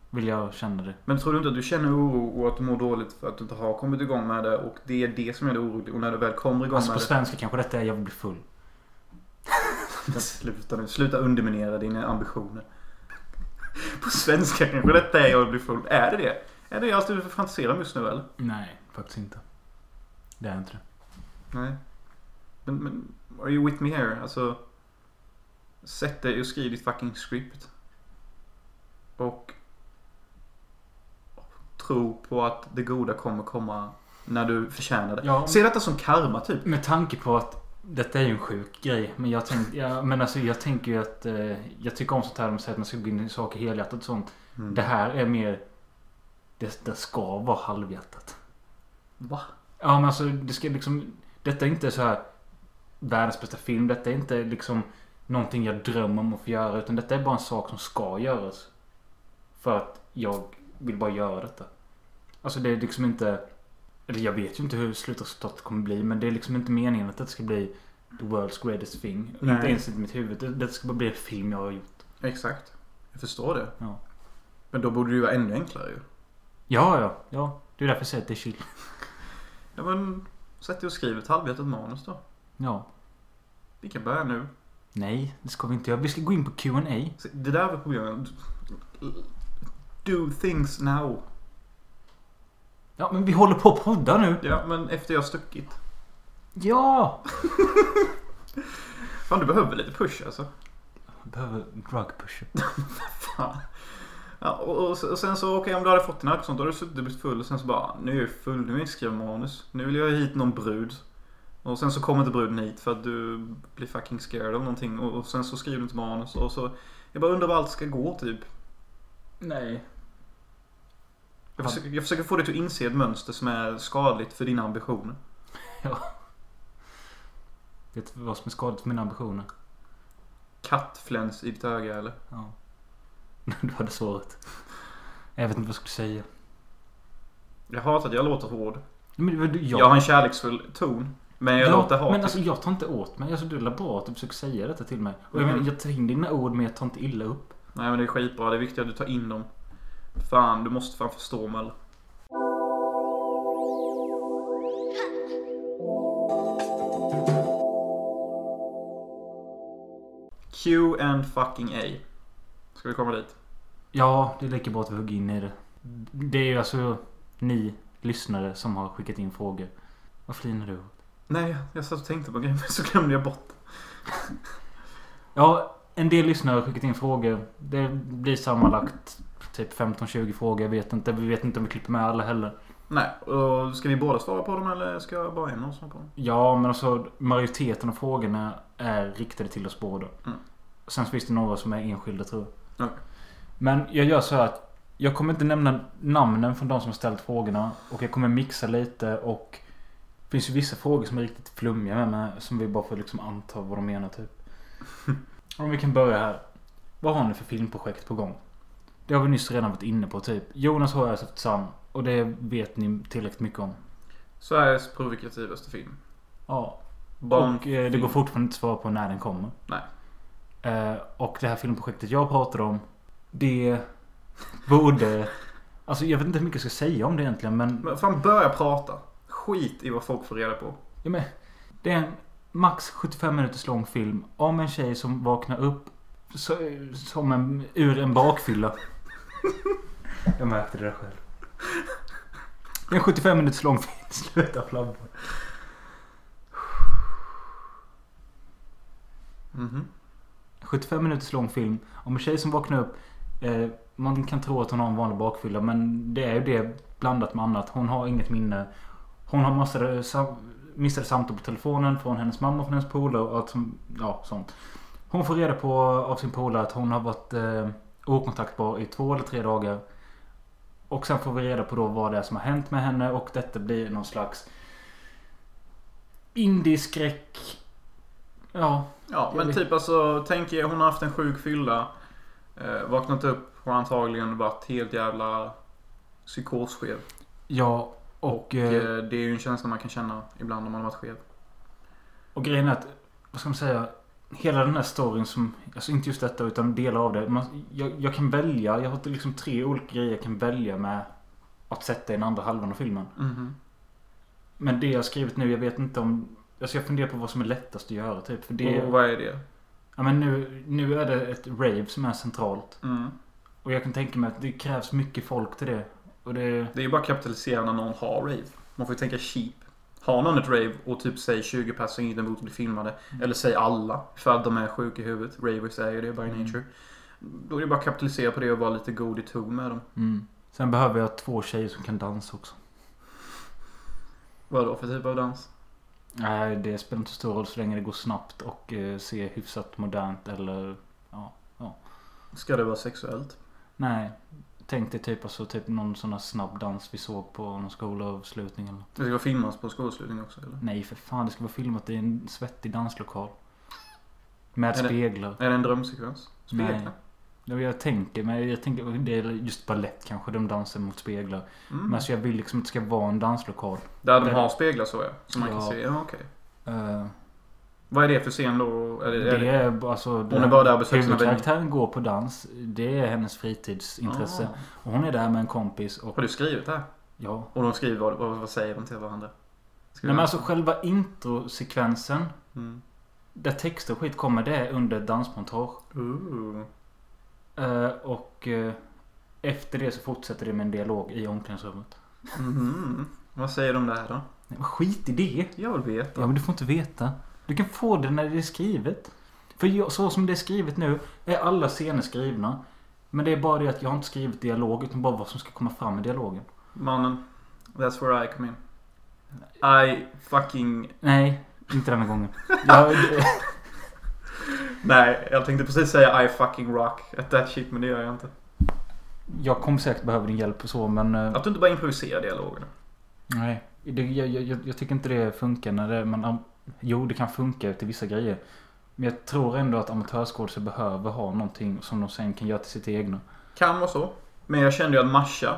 [SPEAKER 2] Vill jag känna det.
[SPEAKER 1] Men tror du inte att du känner oro och att du mår dåligt för att du inte har kommit igång med det och det är det som gör dig orolig och när du väl kommer igång
[SPEAKER 2] Alltså på
[SPEAKER 1] med
[SPEAKER 2] svenska kanske detta är jag vill bli full.
[SPEAKER 1] det. Men Sluta nu. Sluta underminera dina ambitioner. På svenska kanske detta är jag blir full. Är det det? Är det allt du fantiserar om just nu eller?
[SPEAKER 2] Nej, faktiskt inte. Det är inte det.
[SPEAKER 1] Nej. Men, men are you with me here? Alltså. Sätt dig och skriv ditt fucking script. Och. Tro på att det goda kommer komma när du förtjänar det.
[SPEAKER 2] Ja,
[SPEAKER 1] Se detta som karma typ.
[SPEAKER 2] med tanke på att detta är ju en sjuk grej. Men jag, tänk, ja, men alltså, jag tänker ju att eh, jag tycker om sånt här. De säger att man ska gå in i saker helhjärtat och sånt.
[SPEAKER 1] Mm.
[SPEAKER 2] Det här är mer... Det, det ska vara halvhjärtat.
[SPEAKER 1] Va?
[SPEAKER 2] Ja men alltså det ska liksom... Detta är inte så här världens bästa film. Detta är inte liksom någonting jag drömmer om att få göra. Utan detta är bara en sak som ska göras. För att jag vill bara göra detta. Alltså det är liksom inte... Eller jag vet ju inte hur slutresultatet kommer bli. Men det är liksom inte meningen att det ska bli the world's greatest thing.
[SPEAKER 1] Nej.
[SPEAKER 2] Inte ens i mitt huvud. Det, det ska bara bli en film jag har gjort.
[SPEAKER 1] Exakt. Jag förstår det.
[SPEAKER 2] Ja.
[SPEAKER 1] Men då borde det ju vara ännu enklare ju.
[SPEAKER 2] Ja, ja, ja. Det är därför jag säger att det är chill.
[SPEAKER 1] Ja men. Sätt dig och skriv ett halvhjärtat manus då.
[SPEAKER 2] Ja.
[SPEAKER 1] Vi kan börja nu.
[SPEAKER 2] Nej, det ska vi inte göra. Vi ska gå in på Q&A.
[SPEAKER 1] Se, Det där var problemet. Do things now.
[SPEAKER 2] Ja, men vi håller på att podda nu.
[SPEAKER 1] Ja men efter jag har stuckit.
[SPEAKER 2] Ja!
[SPEAKER 1] Fan du behöver lite push alltså.
[SPEAKER 2] Jag behöver drug push.
[SPEAKER 1] Fan. Ja, och, och, och sen så, okej om du hade fått en alkohol och sånt, då hade du suttit och blivit full och sen så bara, "Ah, nu är jag full, nu vill jag inte skriva manus. Nu vill jag ha hit någon brud. Och sen så kommer inte bruden hit för att du blir fucking scared av någonting och, och sen så skriver du inte manus och så, jag bara undrar var allt ska gå typ.
[SPEAKER 2] Nej.
[SPEAKER 1] Jag försöker, jag försöker få dig till att inse ett mönster som är skadligt för dina ambitioner.
[SPEAKER 2] Vet du vad som är skadligt för mina ambitioner?
[SPEAKER 1] Kattfläns i ditt öga eller?
[SPEAKER 2] Ja. (laughs) Du hade svaret. Jag vet inte vad jag skulle säga.
[SPEAKER 1] Jag hatar att jag låter hård.
[SPEAKER 2] Men, men, du-
[SPEAKER 1] Jag har en kärleksfull ton. Men jag
[SPEAKER 2] Ja,
[SPEAKER 1] låter
[SPEAKER 2] Men
[SPEAKER 1] hatisk.
[SPEAKER 2] alltså jag tar inte åt mig. Alltså, du är bra att du försöker säga detta till mig. Och jag,
[SPEAKER 1] Mhm.
[SPEAKER 2] menar, jag tar in dina ord men jag tar inte illa upp.
[SPEAKER 1] Nej men det är skitbra. Det är viktigt att du tar in dem. Fan, du måste fan förstå mig eller? Q and fucking A. Ska vi komma dit?
[SPEAKER 2] Ja, det är lika bra att vi hugger in i det. Det är ju alltså ni lyssnare som har skickat in frågor. Vad flinar du åt?
[SPEAKER 1] Nej, jag satt och tänkte på grejen (laughs) men så glömde jag bort.
[SPEAKER 2] Ja, en del lyssnare har skickat in frågor. Det blir sammanlagt typ 15-20 frågor. Jag vet inte. Vi vet inte om vi klipper med alla heller.
[SPEAKER 1] Nej, och ska vi båda svara på dem eller ska jag bara en av oss svara på dem?
[SPEAKER 2] Ja, men alltså majoriteten av frågorna är riktade till oss båda.
[SPEAKER 1] Mm.
[SPEAKER 2] Sen så finns det några som är enskilda tror jag.
[SPEAKER 1] Okej.
[SPEAKER 2] Men jag gör så här att jag kommer inte nämna namnen från de som har ställt frågorna. Och jag kommer mixa lite och det finns ju vissa frågor som är riktigt flummiga med, med som vi bara får liksom anta vad de menar typ. Om vi kan börja här. Vad har ni för filmprojekt på gång? Det har vi nyss redan varit inne på typ. Jonas har jag Sam och det vet ni tillräckligt mycket om.
[SPEAKER 1] Sveriges provokativaste film.
[SPEAKER 2] Ja,
[SPEAKER 1] Barn...
[SPEAKER 2] och eh, det går fortfarande inte att svara på när den kommer.
[SPEAKER 1] Nej.
[SPEAKER 2] Eh, och det här filmprojektet jag pratar om. Det borde... Alltså jag vet inte hur mycket jag ska säga om det egentligen men...
[SPEAKER 1] Men fan, börja prata. Skit i vad folk får reda på.
[SPEAKER 2] Ja, men det är en max 75 minuters lång film om en tjej som vaknar upp så, som en, ur
[SPEAKER 1] (laughs)
[SPEAKER 2] en bakfylla. jag märkte det där själv. Det är en 75 minuters lång film. Sluta flabba.
[SPEAKER 1] Mhm.
[SPEAKER 2] 75 minuters lång film om en tjej som vaknar upp. Eh, man kan tro att hon har en vanlig bakfylla men det är ju det blandat med annat. Hon har inget minne. Hon har missade, sam- missade samtal på telefonen från hennes mamma, från hennes polare och allt som, ja, sånt. Hon får reda på av sin polare att hon har varit eh, okontaktbar i två eller tre dagar. Och sen får vi reda på då vad det är som har hänt med henne och detta blir någon slags indieskräck. Ja,
[SPEAKER 1] Ja,
[SPEAKER 2] Jag
[SPEAKER 1] men
[SPEAKER 2] vet.
[SPEAKER 1] typ alltså, tänk er hon har haft en sjuk fylla. Eh, vaknat upp har antagligen varit helt jävla psykosskev.
[SPEAKER 2] ja och...
[SPEAKER 1] Eh,
[SPEAKER 2] eh,
[SPEAKER 1] det är ju en känsla man kan känna ibland om man har varit skev.
[SPEAKER 2] Och grejen är att, vad ska man säga? Hela den här storyn som... Alltså inte just detta utan delar av det. Man, jag, jag kan välja. Jag har liksom tre olika grejer jag kan välja med. Att sätta i den andra halvan av filmen.
[SPEAKER 1] Mhm.
[SPEAKER 2] Men det jag har skrivit nu, jag vet inte om... Alltså jag funderar på vad som är lättast att göra typ. För det...
[SPEAKER 1] Och vad är det?
[SPEAKER 2] Ja men nu, nu är det ett rave som är centralt.
[SPEAKER 1] Mm.
[SPEAKER 2] Och jag kan tänka mig att det krävs mycket folk till det. Och det...
[SPEAKER 1] Det är ju bara att kapitalisera när någon har rave. Man får ju tänka cheap. Har någon ett rave och typ säg 20 personer inte emot att bli filmade.
[SPEAKER 2] Mm.
[SPEAKER 1] Eller säg alla. För att de är sjuka i huvudet. Ravers är ju det by
[SPEAKER 2] Mm.
[SPEAKER 1] nature. Då är det bara att kapitalisera på det och vara lite god i ton med dem.
[SPEAKER 2] Mm. Sen behöver jag två tjejer som kan dansa också.
[SPEAKER 1] Vad då för typ av dans?
[SPEAKER 2] Nej, det spelar inte så stor roll så länge det går snabbt och eh, ser hyfsat modernt eller...
[SPEAKER 1] Ska det vara sexuellt?
[SPEAKER 2] Nej. Tänk dig typ, alltså, typ någon sån här snabb dans vi såg på någon skolavslutning eller...
[SPEAKER 1] Det ska filmas på skolavslutning också eller?
[SPEAKER 2] Nej för fan, det ska vara filmat i en svettig danslokal. Med
[SPEAKER 1] Är det-
[SPEAKER 2] speglar.
[SPEAKER 1] Är det en drömsekvens?
[SPEAKER 2] Nej.
[SPEAKER 1] Speglar?
[SPEAKER 2] Det är vad jag tänker, men jag tänker det är just ballett kanske, de dansar mot speglar. Men
[SPEAKER 1] Mm.
[SPEAKER 2] alltså jag vill liksom inte det ska vara en danslokal.
[SPEAKER 1] Där de
[SPEAKER 2] där-
[SPEAKER 1] har speglar så ja. Som man kan
[SPEAKER 2] Ja.
[SPEAKER 1] se. Ja, okej.
[SPEAKER 2] Eh,
[SPEAKER 1] Vad är det för scen då? Är det, är
[SPEAKER 2] det
[SPEAKER 1] det...
[SPEAKER 2] är alltså...
[SPEAKER 1] är bara där och besöker sina
[SPEAKER 2] Huvudkaraktären går på dans. Det är hennes fritidsintresse.
[SPEAKER 1] Ah.
[SPEAKER 2] Och hon är där med en kompis och...
[SPEAKER 1] Har du skrivit det här?
[SPEAKER 2] Ja.
[SPEAKER 1] Och de skriver vad, vad, vad säger de till varandra? Ska
[SPEAKER 2] Nej men
[SPEAKER 1] vi-
[SPEAKER 2] alltså själva introsekvensen.
[SPEAKER 1] Mm.
[SPEAKER 2] Där texter och skit kommer det är under ett dansmontage.
[SPEAKER 1] Ooh.
[SPEAKER 2] Eh, och eh, efter det så fortsätter det med en dialog i omklädningsrummet.
[SPEAKER 1] Mhm. Vad säger de där då?
[SPEAKER 2] Nej, men skit i det!
[SPEAKER 1] Jag vill veta.
[SPEAKER 2] Ja men du får inte veta. Du kan få det när det är skrivet. För jag, så som det är skrivet nu är alla scener skrivna. Men det är bara det att jag har inte skrivit dialog utan bara vad som ska komma fram i dialogen.
[SPEAKER 1] Mannen. That's where I come in. I fucking...
[SPEAKER 2] Nej, inte denna (laughs) gången. Jag,
[SPEAKER 1] Nej, jag tänkte precis säga I fucking rock. At that shit, men det gör jag inte.
[SPEAKER 2] jag kommer säkert behöva din hjälp och så men... eh,
[SPEAKER 1] Att du inte bara improviserar dialogerna.
[SPEAKER 2] Nej, det, jag, jag, jag- jag tycker inte det funkar när det, man... am- Jo, det kan funka till vissa grejer. Men jag tror ändå att amatörskådisar behöver ha någonting som de sen kan göra till sitt egna.
[SPEAKER 1] Kan vara så. Men jag kände ju att Masha,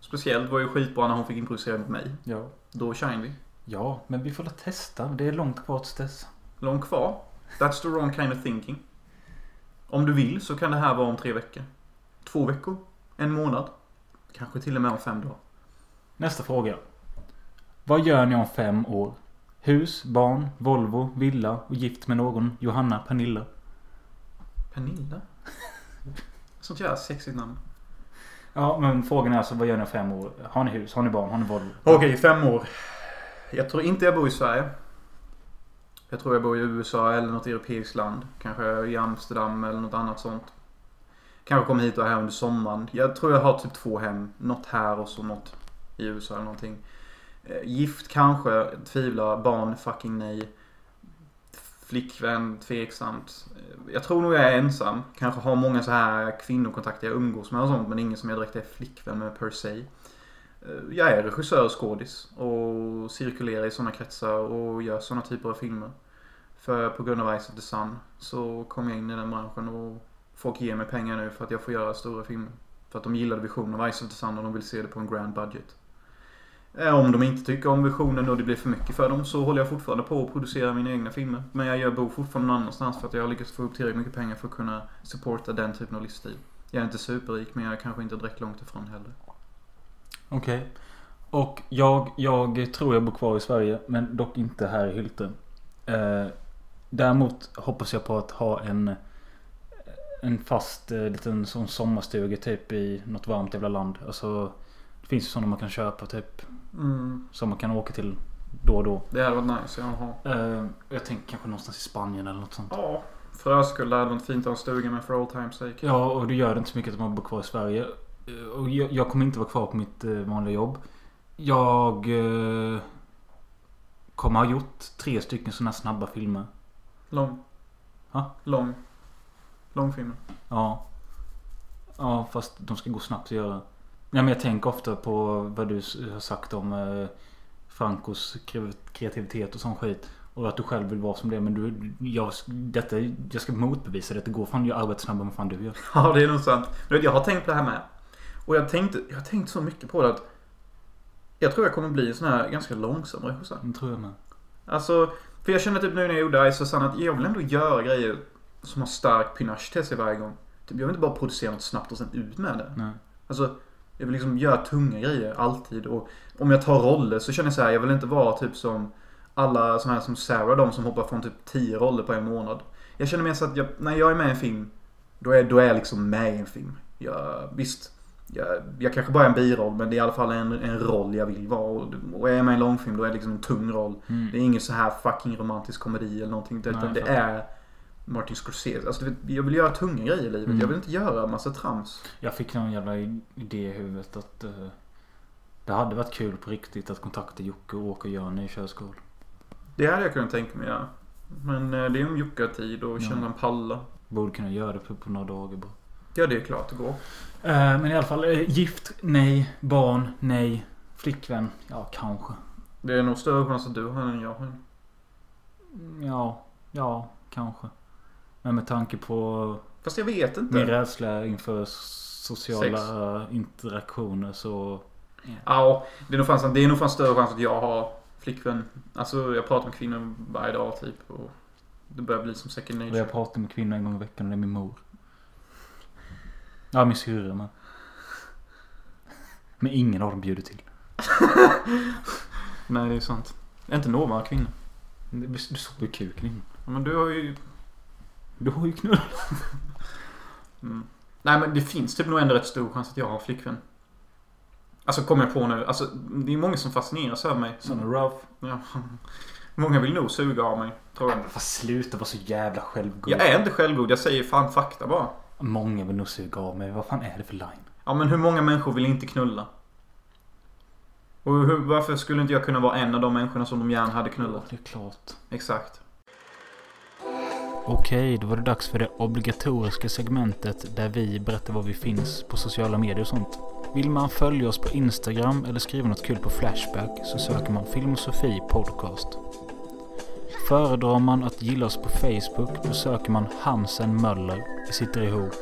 [SPEAKER 1] speciellt, var ju skitbra när hon fick improvisera mot mig.
[SPEAKER 2] Ja.
[SPEAKER 1] Då shine vi.
[SPEAKER 2] Ja, men vi får väl testa. Det är långt kvar tills dess.
[SPEAKER 1] Långt kvar. That's the wrong kind of thinking. Om du vill så kan det här vara om tre veckor. Två veckor. En månad. Kanske till och med om fem dagar.
[SPEAKER 2] Nästa fråga. Vad gör ni om fem år? Hus, barn, Volvo, villa och gift med någon. Johanna, Pernilla.
[SPEAKER 1] Pernilla? Sånt jävla sexigt namn.
[SPEAKER 2] Ja, men frågan är alltså vad gör ni om fem år? Har ni hus? Har ni barn? Har ni Volvo?
[SPEAKER 1] Okej, fem år. Jag tror inte jag bor i Sverige. Jag tror jag bor i USA eller något europeiskt land. Kanske i Amsterdam eller något annat sånt. Kanske kommer hit och här under sommaren. Jag tror jag har typ två hem. Något här och så något i USA eller någonting. Eh, Gift kanske, jag tvivlar. Barn, fucking nej. Flickvän, tveksamt. Eh, Jag tror nog jag är ensam. Kanske har många så här kvinnokontakter jag umgås med och sånt. Men ingen som jag direkt är flickvän med per se. Eh, Jag är regissör och skådis och cirkulerar i sådana kretsar och gör sådana typer av filmer. För på grund av Ice of the Sun så kom jag in i den branschen och folk ger mig pengar nu för att jag får göra stora filmer. För att de gillade visionen av Ice of the Sun och de vill se det på en grand budget. Eh, Om de inte tycker om visionen och det blir för mycket för dem så håller jag fortfarande på att producera mina egna filmer. Men jag gör bor fortfarande någon annanstans för att jag har lyckats få upp tillräckligt mycket pengar för att kunna supporta den typen av livsstil. Jag är inte superrik men jag är kanske inte direkt långt ifrån heller.
[SPEAKER 2] Okej. Och jag, jag tror jag bor kvar i Sverige, men dock inte här i Hylte. Eh, däremot hoppas jag på att ha en, en fast eh, liten sån sommarstuga typ i något varmt jävla land. Alltså, det finns ju sådana man kan köpa typ.
[SPEAKER 1] Mm.
[SPEAKER 2] Som man kan åka till då och då.
[SPEAKER 1] Det hade varit nice, jaha.
[SPEAKER 2] Eh, jag tänker kanske någonstans i Spanien eller något sånt.
[SPEAKER 1] Ja. För ös skull hade varit fint att ha en stuga men for all time sake.
[SPEAKER 2] Ja, och det gör det inte så mycket att man bor kvar i Sverige. Eh, Och jag, jag kommer inte vara kvar på mitt eh, vanliga jobb. Jag eh, kommer ha gjort tre stycken sådana här snabba filmer.
[SPEAKER 1] Lång.
[SPEAKER 2] Ha?
[SPEAKER 1] Lång. Lång film.
[SPEAKER 2] Ja. Ja, fast de ska gå snabbt att göra. Ja, men jag tänker ofta på vad du s- har sagt om eh, Francos kre- kreativitet och sån skit. Och att du själv vill vara som det. Men du, jag, detta, jag ska motbevisa det. Det går fan, jag arbetar snabbare än vad fan du gör.
[SPEAKER 1] (laughs) Ja, det är nog sant. Men jag har tänkt på det här med. Och jag tänkte, jag har tänkt så mycket på det att jag tror jag kommer bli en sån här ganska långsam regissör.
[SPEAKER 2] Det tror jag med.
[SPEAKER 1] Alltså, För jag känner typ nu när jag gjorde Ice att jag vill ändå göra grejer som har stark pinage till sig varje gång. Typ, jag vill inte bara producera något snabbt och sen ut med det.
[SPEAKER 2] Nej.
[SPEAKER 1] Alltså, jag vill liksom göra tunga grejer alltid. Och om jag tar roller så känner jag så här, jag vill inte vara typ som alla såna här som Sarah, de som hoppar från typ 10 roller på en månad. Jag känner mer så att jag, när jag är med i en film, då är, då är jag liksom med i en film. Jag, visst, jag, jag kanske bara är en biroll, men det är i alla fall en, en roll jag vill vara. Och, och är jag med i en långfilm, då är det liksom en tung roll.
[SPEAKER 2] Mm.
[SPEAKER 1] Det är ingen så här fucking romantisk komedi eller någonting.
[SPEAKER 2] Nej,
[SPEAKER 1] Utan
[SPEAKER 2] jag
[SPEAKER 1] det
[SPEAKER 2] fattar.
[SPEAKER 1] är Martin Scorsese. Alltså, du vet, jag vill göra tunga grejer i livet.
[SPEAKER 2] Mm.
[SPEAKER 1] Jag vill inte göra massa trams.
[SPEAKER 2] Jag fick någon jävla idé i huvudet att eh, det hade varit kul på riktigt att kontakta Jocke och åka och göra en ny körskola.
[SPEAKER 1] Det hade jag kunnat tänka mig ja. Men eh, det är om Jocke har tid och
[SPEAKER 2] Ja.
[SPEAKER 1] känner han pallar.
[SPEAKER 2] Borde kunna göra det på, på några dagar bara.
[SPEAKER 1] Ja, det är klart det går.
[SPEAKER 2] Eh, men i alla fall, eh, gift, nej. Barn, nej. Flickvän, ja kanske.
[SPEAKER 1] Det är nog större chans att du har än jag har.
[SPEAKER 2] Mm, Ja, ja, kanske. Men med tanke på
[SPEAKER 1] Fast jag vet inte.
[SPEAKER 2] min
[SPEAKER 1] Ja,
[SPEAKER 2] rädsla inför sociala
[SPEAKER 1] Sex.
[SPEAKER 2] eh, interaktioner så...
[SPEAKER 1] det är nog fan, sant. det är nog fan större chans att jag har flickvän. Alltså, jag pratar med kvinnor varje dag typ. Och det börjar bli som second
[SPEAKER 2] Och
[SPEAKER 1] nature.
[SPEAKER 2] jag pratar med kvinnor en gång i veckan och det är min mor. Ja, min syrra men. Men ingen av dem bjuder till.
[SPEAKER 1] Nej, det är sant. Inte några kvinnor.
[SPEAKER 2] Du du såg ju kuken innan.
[SPEAKER 1] Ja, Men du har ju...
[SPEAKER 2] Du har ju knull.
[SPEAKER 1] Mm. Nej, men det finns typ nog ändå rätt stor chans att jag har flickvän. Alltså, kommer jag på nu. Alltså, det är många som fascineras över mig.
[SPEAKER 2] Sån är rough.
[SPEAKER 1] Ja. Många vill nog suga av mig, tror jag.
[SPEAKER 2] Fast sluta vara så jävla självgod.
[SPEAKER 1] Jag är inte självgod, jag säger fan fakta bara.
[SPEAKER 2] Många vill nog suga av mig. Vad fan är det för line?
[SPEAKER 1] Ja men hur många människor vill inte knulla? Och hur, varför skulle inte jag kunna vara en av de människorna som de gärna hade knullat?
[SPEAKER 2] Det är klart.
[SPEAKER 1] Exakt.
[SPEAKER 2] Okej, då var det dags för det obligatoriska segmentet där vi berättar var vi finns på sociala medier och sånt. Vill man följa oss på Instagram eller skriva något kul på Flashback så söker man Filmosofi Podcast. Föredrar man att gilla oss på Facebook då söker man Hansen Möller, vi sitter ihop.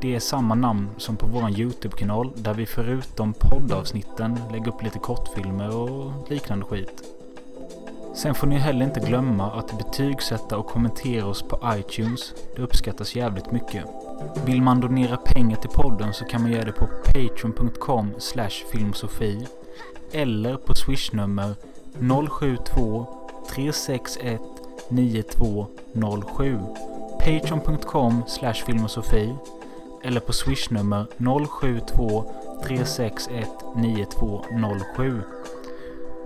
[SPEAKER 2] Det är samma namn som på vår YouTube-kanal där vi förutom poddavsnitten lägger upp lite kortfilmer och liknande skit. Sen får ni heller inte glömma att betygsätta och kommentera oss på iTunes. Det uppskattas jävligt mycket. Vill man donera pengar till podden så kan man göra det på patreon.com filmsofi eller på swishnummer 072 361 9207 patreon.com filmsofi eller på swishnummer 072 361 9207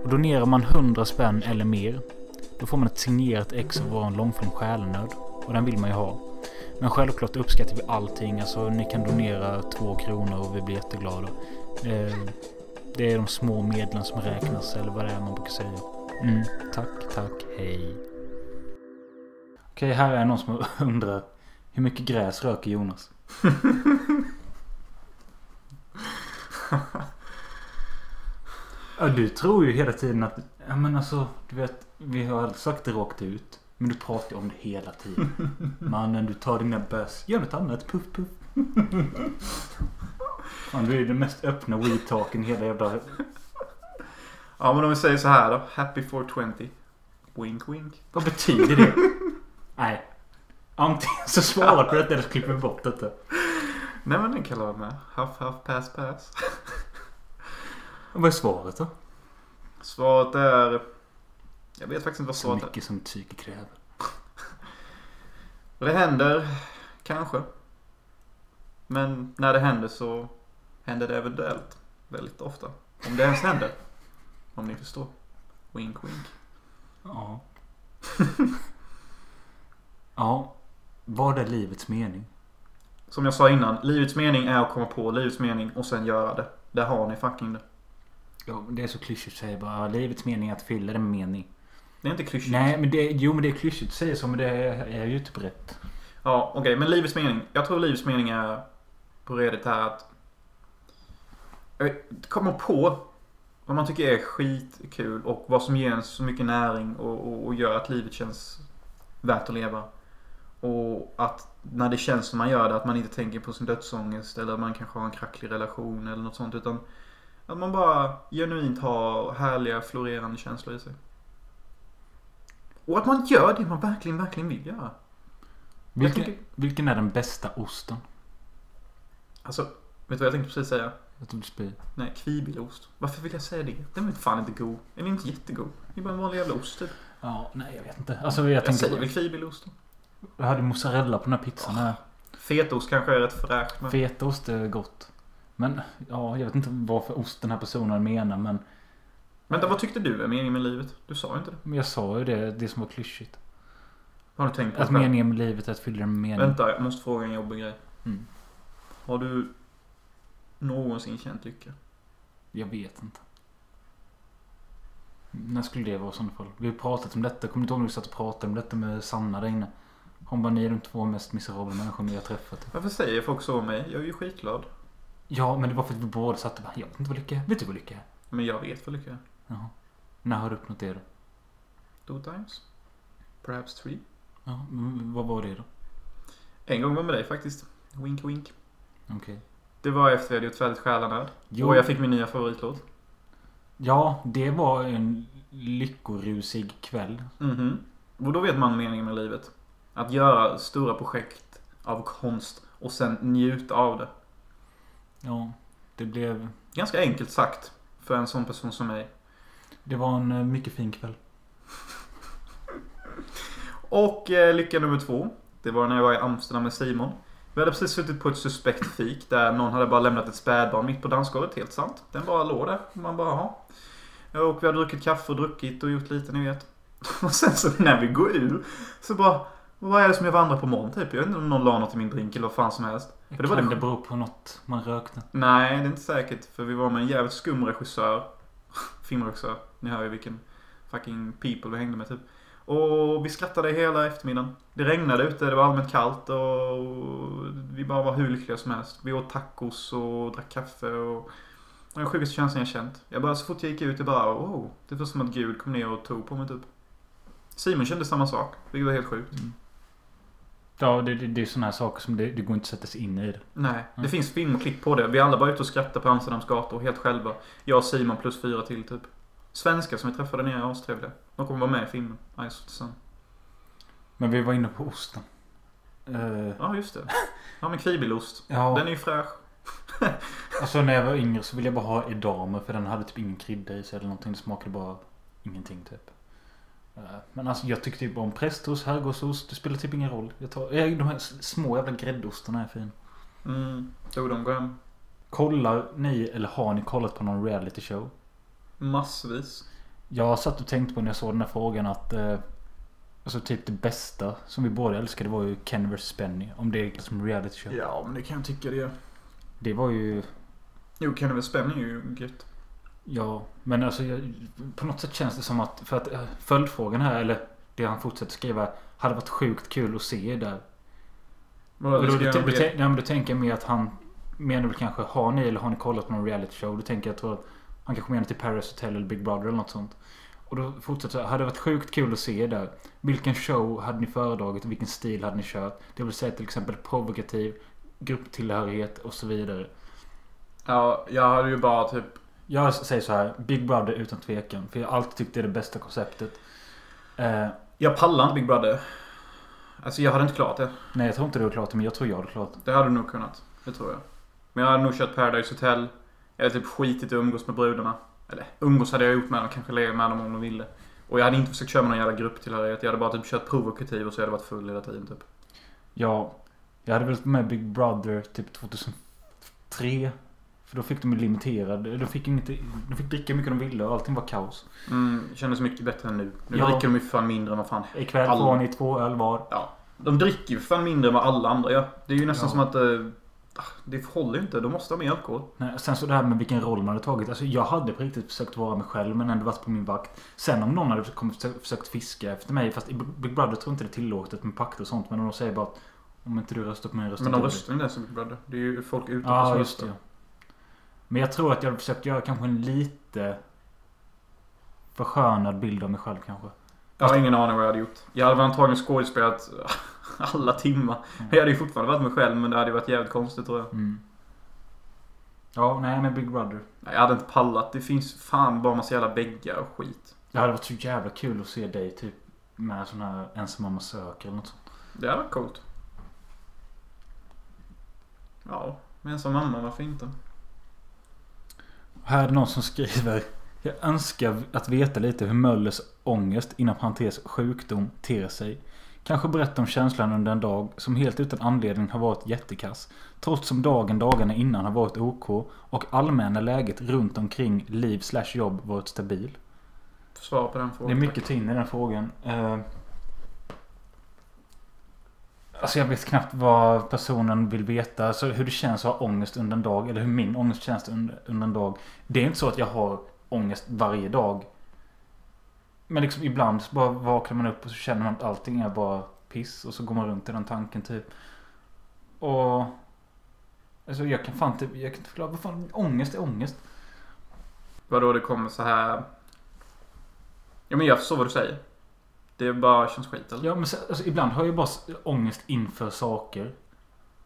[SPEAKER 2] och donerar man 100 spänn eller mer, då får man ett signerat ex av vår långfilm Själenöd. Och den vill man ju ha. Men självklart uppskattar vi allting. Alltså ni kan donera 2 kronor och vi blir jätteglada. Eh, Det är de små medlen som räknas, eller vad det är man brukar säga. Mm, tack, tack, hej. Okej, här är någon som undrar. Hur mycket gräs röker Jonas? Ja, du tror ju hela tiden att... Ja, men alltså, du vet. Vi har aldrig sagt det rakt ut. Men du pratar ju om det hela tiden. Mannen, du tar dina bärs. Gör något annat. Puff, puff. Fan, du är den mest öppna weed-talken i hela jävla...
[SPEAKER 1] Ja men om vi säger så här då. Happy 420. Wink wink.
[SPEAKER 2] Vad betyder det? Nej. Antingen så svarar du detta eller så klipper vi bort detta.
[SPEAKER 1] Nej men den kan jag vara med. Huff huff pass pass.
[SPEAKER 2] Vad är svaret då?
[SPEAKER 1] Svaret är... Jag vet faktiskt inte vad
[SPEAKER 2] Så
[SPEAKER 1] svaret är.
[SPEAKER 2] mycket som psyke kräver.
[SPEAKER 1] Det händer. Kanske. Men när det händer så händer det eventuellt. Väldigt ofta. Om det ens händer. Om ni förstår. Wink wink.
[SPEAKER 2] Ja. (laughs) ja. Vad är livets mening?
[SPEAKER 1] Som jag sa innan, livets mening är att komma på livets mening och sen göra det. Där har ni fucking det.
[SPEAKER 2] Ja, det är så klyschigt att säga bara "Ja, livets mening är att fylla det med mening.
[SPEAKER 1] Det är inte klyschigt.
[SPEAKER 2] Nej, men det, jo men det är klyschigt att säga så men det är, är ju typ rätt.
[SPEAKER 1] Ja, okej. men livets mening. Jag tror livets mening är på redigt här att... eh, Komma på vad man tycker är skitkul och vad som ger en så mycket näring och, och, och gör att livet känns värt att leva. Och att när det känns som man gör det, att man inte tänker på sin dödsångest eller att man kanske har en kracklig relation eller något sånt. Utan att man bara genuint har härliga florerande känslor i sig. Och att man gör det man verkligen, verkligen vill göra.
[SPEAKER 2] Vilken,
[SPEAKER 1] tycker-
[SPEAKER 2] vilken är den bästa osten?
[SPEAKER 1] Alltså, vet du vad jag tänkte precis säga?
[SPEAKER 2] Jag tror du spyr.
[SPEAKER 1] Nej, kvibilost. Varför vill jag säga det? Den är fan inte god. Den är inte jättegod. Det är bara en vanlig jävla ost typ.
[SPEAKER 2] Ja, nej jag vet inte. Alltså jag,
[SPEAKER 1] Jag,
[SPEAKER 2] tänker...
[SPEAKER 1] säger väl kvibilost då.
[SPEAKER 2] Jag hade mozzarella på den här pizzan här.
[SPEAKER 1] Fetaost kanske är rätt fräscht men...
[SPEAKER 2] Fetaost är gott. Men ja, jag vet inte vad för ost den här personen menar men...
[SPEAKER 1] Vänta, vad tyckte du är meningen med livet? Du sa ju inte det.
[SPEAKER 2] Men jag sa ju det, det som var klyschigt.
[SPEAKER 1] Har du tänkt på det
[SPEAKER 2] Att
[SPEAKER 1] själv?
[SPEAKER 2] meningen med livet är att fylla det med mening.
[SPEAKER 1] Vänta, jag måste fråga en jobbig grej.
[SPEAKER 2] Mm.
[SPEAKER 1] Har du någonsin känt lycka?
[SPEAKER 2] Jag vet inte. När skulle det vara i sådana fall? Vi har pratat om detta. Kommer du inte ihåg när vi satt och pratade om detta med Sanna där inne? Hon bara, ni är de två mest miserabla människorna jag har träffat.
[SPEAKER 1] Varför säger folk så om mig? Jag är ju skitglad.
[SPEAKER 2] Ja, men det var för att vi båda satt och bara, jag vet inte vad lycka är. Vet du vad lycka är?
[SPEAKER 1] Men jag vet vad lycka är.
[SPEAKER 2] Jaha. När har du uppnått det då?
[SPEAKER 1] Two times. Perhaps three.
[SPEAKER 2] Ja, men vad var det då?
[SPEAKER 1] En gång var jag med dig faktiskt. Wink wink.
[SPEAKER 2] Okej.
[SPEAKER 1] Det var efter vi hade gjort färdigt Själanöd.
[SPEAKER 2] Jo,
[SPEAKER 1] Och jag fick min nya favoritlåt.
[SPEAKER 2] Ja, det var en lyckorusig kväll.
[SPEAKER 1] Mhm. Och då vet man meningen med livet. Att göra stora projekt av konst och sen njuta av det.
[SPEAKER 2] Ja, det blev...
[SPEAKER 1] Ganska enkelt sagt. För en sån person som mig.
[SPEAKER 2] Det var en eh, mycket fin kväll.
[SPEAKER 1] Och eh, lycka nummer två. Det var när jag var i Amsterdam med Simon. Vi hade precis suttit på ett suspekt fik där någon hade bara lämnat ett spädbarn mitt på dansgolvet. Helt sant. Den bara låg där. Och Man bara, "Jaha." Och vi hade druckit kaffe och druckit och gjort lite, ni vet. (laughs) Och sen så när vi går ur så bara, vad är det som jag vandrar på morgon typ? Jag vet inte om någon la något i min drink eller vad fan som helst. För det
[SPEAKER 2] det
[SPEAKER 1] var
[SPEAKER 2] kan
[SPEAKER 1] det-
[SPEAKER 2] det bero på något man rökte.
[SPEAKER 1] Nej, det är inte säkert. För vi var med en jävligt skum regissör. (laughs) Filmregissör. Ni hör ju vilken fucking people vi hängde med typ. Och vi skrattade hela eftermiddagen. Det regnade ute, det var allmänt kallt och vi bara var hur lyckliga som helst. Vi åt tacos och drack kaffe och... Det var den sjukaste känslan jag känt. Jag bara, så fort jag gick ut, jag bara wow. Det var som att Gud kom ner och tog på mig typ. Simon kände samma sak, vilket var helt sjukt.
[SPEAKER 2] Ja, det, det, det är sådana här saker som det, det går inte att sätta sig in i. Det.
[SPEAKER 1] Nej, det
[SPEAKER 2] Mm.
[SPEAKER 1] finns filmklipp på det. Vi alla var ute och skrattade på Amsterdams gator helt själva. Jag och Simon plus fyra till typ. Svenskar som vi träffade nere är astrevliga. De kommer vara med i filmen. Ice of the Sun.
[SPEAKER 2] Men vi var inne på osten. Eh,
[SPEAKER 1] Ja, just det. Ja, men kvibilost.
[SPEAKER 2] ja,
[SPEAKER 1] Den är ju fräsch.
[SPEAKER 2] alltså när jag var yngre så ville jag bara ha edamame för den hade typ ingen krydda i sig eller någonting. Det smakade bara ingenting typ. Eh, Men alltså jag tyckte typ om prästost, herrgårdsost. Det spelar typ ingen roll. Jag tar, eh, de här s- små jävla gräddostarna är fina.
[SPEAKER 1] Mm. Jo, de går hem.
[SPEAKER 2] Kollar ni eller har ni kollat på någon reality show?
[SPEAKER 1] Massvis.
[SPEAKER 2] Jag satt och tänkte på när jag såg den här frågan att eh, Alltså typ det bästa som vi båda älskade var ju Ken vs Benny. Om det är som reality show.
[SPEAKER 1] Ja, men det kan jag tycka det är.
[SPEAKER 2] Det var ju
[SPEAKER 1] Jo, kan det väl spänna ju gött.
[SPEAKER 2] Ja, men alltså jag, på något sätt känns det som att för att eh, följdfrågan här eller det han fortsätter skriva hade varit sjukt kul att se där.
[SPEAKER 1] Vadå,
[SPEAKER 2] Och
[SPEAKER 1] vi
[SPEAKER 2] då,
[SPEAKER 1] ska
[SPEAKER 2] då,
[SPEAKER 1] göra
[SPEAKER 2] då,
[SPEAKER 1] en del-
[SPEAKER 2] tän- nej, men då tänker jag mer att han menar väl kanske har ni eller har ni kollat på någon reality show? Då tänker jag tror att han kanske menar till Paris Hotel eller Big Brother eller något sånt. Och då fortsätter jag. Hade varit sjukt kul att se er där. Vilken show hade ni föredragit och vilken stil hade ni kört? Det vill säga till exempel provokativ, grupptillhörighet och så vidare.
[SPEAKER 1] Ja, jag hade ju bara typ...
[SPEAKER 2] Jag säger så här. Big Brother utan tvekan. För jag har alltid tyckt det är det bästa konceptet. Eh,
[SPEAKER 1] Jag pallar inte Big Brother. Alltså, jag hade inte klarat det.
[SPEAKER 2] nej, jag tror inte det är klart. Men jag tror jag hade klart.
[SPEAKER 1] Det hade du nog kunnat. Det tror jag. Men jag hade nog kört Paradise Hotel. Eller typ skitit i att umgås med brudarna. Eller umgås hade jag gjort med dem. Kanske legat med dem om de ville. Och jag hade inte försökt köra med någon jävla grupptillhörighet. Jag hade bara typ kört provokativ och så hade jag varit full hela tiden typ.
[SPEAKER 2] Ja, jag hade velat vara med i Big Brother typ 2003. För då fick de ju limiterad. De fick, inte, de fick dricka hur mycket de ville och allting var kaos.
[SPEAKER 1] Mm, kändes mycket bättre än nu. Nu
[SPEAKER 2] Ja.
[SPEAKER 1] dricker de ju för fan mindre än vad fan
[SPEAKER 2] Ikväll
[SPEAKER 1] Alla.
[SPEAKER 2] får ni två öl var.
[SPEAKER 1] De dricker ju för fan mindre än vad alla andra gör. Det är ju nästan
[SPEAKER 2] Ja.
[SPEAKER 1] som att... Eh, ah, det håller ju inte. De måste ha mer alkohol.
[SPEAKER 2] Nej, sen så det här med vilken roll man hade tagit. Alltså jag hade på riktigt försökt vara mig själv men ändå varit på min vakt. Sen om någon hade kommit och försökt fiska efter mig. Fast i Big Brother tror jag inte det är tillåtet med pakter och sånt. Men de säger bara att om inte du röstar på mig röstar
[SPEAKER 1] Men
[SPEAKER 2] inte
[SPEAKER 1] de
[SPEAKER 2] du.
[SPEAKER 1] röstar ju inte ens som Big Brother. Det är ju folk utanför
[SPEAKER 2] Ja,
[SPEAKER 1] som
[SPEAKER 2] just det.
[SPEAKER 1] röstar.
[SPEAKER 2] ja. Men jag tror att jag hade försökt göra kanske en lite förskönad bild av mig själv kanske.
[SPEAKER 1] Jag har ingen aning vad jag hade gjort. Jag hade väl antagligen skådespelat (laughs) alla timmar.
[SPEAKER 2] Mm.
[SPEAKER 1] Jag hade ju fortfarande varit mig själv men det hade ju varit jävligt konstigt tror jag.
[SPEAKER 2] Mm. Ja, nej men Big Brother.
[SPEAKER 1] Nej, Jag hade inte pallat. Det finns fan bara massa jävla väggar och skit.
[SPEAKER 2] Det hade varit så jävla kul att se dig typ med sån här ensam mamma söker eller något sånt.
[SPEAKER 1] Det hade varit coolt. Ja, men som mamma varför inte?
[SPEAKER 2] Här är det någon som skriver. Jag önskar att veta lite hur Möllers ångest inom parentes sjukdom ter sig. Kanske berätta om känslan under en dag som helt utan anledning har varit jättekass. Trots som dagen dagarna innan har varit OK och allmänna läget runt omkring liv slash jobb varit stabil.
[SPEAKER 1] Får svar på den
[SPEAKER 2] Det är
[SPEAKER 1] frågan.
[SPEAKER 2] mycket tyngd i den frågan. Eh, Alltså jag vet knappt vad personen vill veta. Alltså hur det känns att ha ångest under en dag. Eller hur min ångest känns under, under en dag. Det är inte så att jag har ångest varje dag. Men liksom ibland så bara vaknar man upp och så känner man att allting är bara piss. Och så går man runt i den tanken typ. Och... Alltså jag kan fan typ, jag kan inte förklara. Vad fan, ångest är ångest.
[SPEAKER 1] Vadå det kommer så här... Ja men jag förstår vad du säger. Det bara känns skit eller?
[SPEAKER 2] Ja men så, alltså, ibland har jag bara s- ångest inför saker.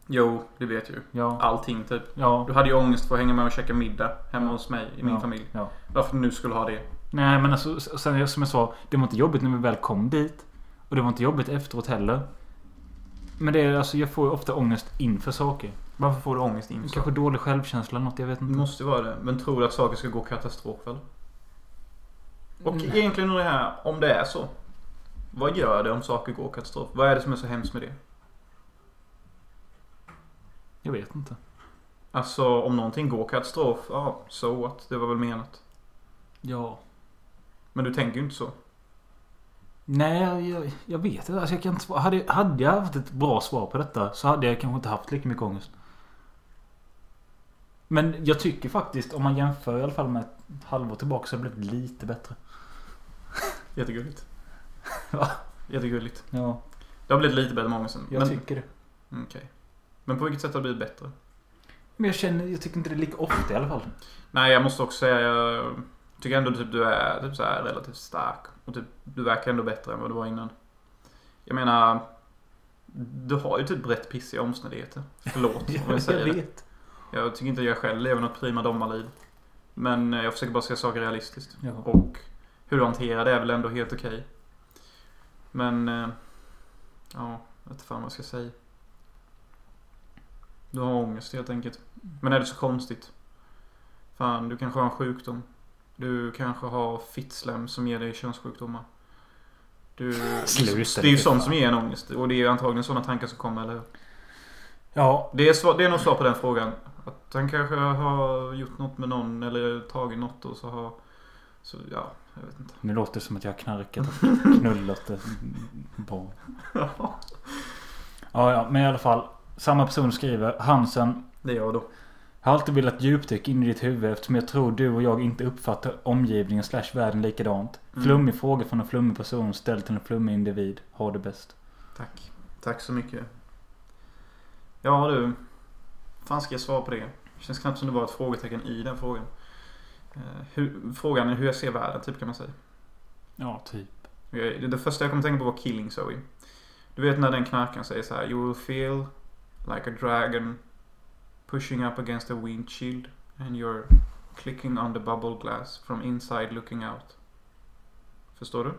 [SPEAKER 1] Jo, det vet jag ju.
[SPEAKER 2] Ja.
[SPEAKER 1] Allting typ.
[SPEAKER 2] Ja.
[SPEAKER 1] Du hade ju ångest för att hänga med och käka middag hemma hos mig i min
[SPEAKER 2] Ja.
[SPEAKER 1] familj.
[SPEAKER 2] Ja.
[SPEAKER 1] Varför du nu skulle ha det.
[SPEAKER 2] Nej men alltså, s- sen, som jag sa, det var inte jobbigt när vi väl kom dit. Och det var inte jobbigt efteråt heller. Men det är alltså, jag får ju ofta ångest inför saker.
[SPEAKER 1] Varför får du ångest in
[SPEAKER 2] Kanske dålig självkänsla eller något, jag vet
[SPEAKER 1] Det
[SPEAKER 2] inte.
[SPEAKER 1] måste ju vara det. Men tror du att saker ska gå katastrof eller? Och
[SPEAKER 2] Mm.
[SPEAKER 1] egentligen undrar jag här, om det är så. Vad gör det om saker går katastrof? Vad är det som är så hemskt med det?
[SPEAKER 2] Jag vet inte.
[SPEAKER 1] Alltså om någonting går katastrof, ja, so what? Det var väl menat.
[SPEAKER 2] Ja.
[SPEAKER 1] Men du tänker ju inte så.
[SPEAKER 2] Nej, jag, jag vet inte. Alltså, jag kan inte svara. Hade, hade jag haft ett bra svar på detta så hade jag kanske inte haft lika mycket ångest. Men jag tycker faktiskt, om man jämför i alla fall med ett halvår tillbaka så har det blivit lite bättre.
[SPEAKER 1] Jättegulligt.
[SPEAKER 2] (laughs) Va?
[SPEAKER 1] Jättegulligt.
[SPEAKER 2] Ja,
[SPEAKER 1] Det har blivit lite bättre med ångesten.
[SPEAKER 2] jag
[SPEAKER 1] men,
[SPEAKER 2] tycker det.
[SPEAKER 1] Mm, Okej. Men på vilket sätt har det blivit bättre?
[SPEAKER 2] Men jag känner, jag tycker inte det är lika ofta i alla fall.
[SPEAKER 1] Nej, jag måste också säga jag tycker ändå typ du är typ så här relativt stark. Och typ, du verkar ändå bättre än vad du var innan. Jag menar, du har ju typ rätt pissiga omständigheter.
[SPEAKER 2] (laughs)
[SPEAKER 1] Förlåt om jag säger det.
[SPEAKER 2] vet.
[SPEAKER 1] Jag tycker inte jag själv lever något prima dommarliv. Men eh, jag försöker bara se saker realistiskt.
[SPEAKER 2] Ja.
[SPEAKER 1] Och hur du hanterar det är väl ändå helt okej. Men... eh, Ja, jag vet fan vad jag ska säga. Du har ångest helt enkelt. Men är det så konstigt? Fan, du kanske har en sjukdom. Du kanske har fitslem som ger dig könssjukdomar. Du...
[SPEAKER 2] (laughs) Sluta,
[SPEAKER 1] det är ju
[SPEAKER 2] för
[SPEAKER 1] sånt
[SPEAKER 2] fan.
[SPEAKER 1] som ger en ångest. Och det är ju antagligen sådana tankar som kommer, eller hur?
[SPEAKER 2] Ja,
[SPEAKER 1] Det är, svar, det är nog svar på den frågan. Att han kanske har gjort något med någon eller tagit något och så har... Så ja, jag vet inte.
[SPEAKER 2] nu låter det som att jag har knarkat och knullat ett barn. (laughs) Ja, ja, men i alla fall. Samma person skriver Hansen
[SPEAKER 1] Det är jag då.
[SPEAKER 2] Jag har alltid velat djupdyka in i ditt huvud eftersom jag tror du och jag inte uppfattar omgivningen slash världen likadant.
[SPEAKER 1] Mm.
[SPEAKER 2] Flummig fråga från en flummig person ställd till en flummig individ. Ha det bäst.
[SPEAKER 1] Tack. Tack så mycket. Ja du. fan ska jag svara på det? Känns knappt som det var ett frågetecken i den frågan. Eh, hur, frågan är hur jag ser världen, typ kan man säga.
[SPEAKER 2] Ja, typ.
[SPEAKER 1] Jag- Det första jag kom att tänka på var Killing Zoe. Du vet när den knarkaren säger så här. You will feel like a dragon pushing up against a windshield and you're clicking on the bubble glass from inside looking out. Förstår du?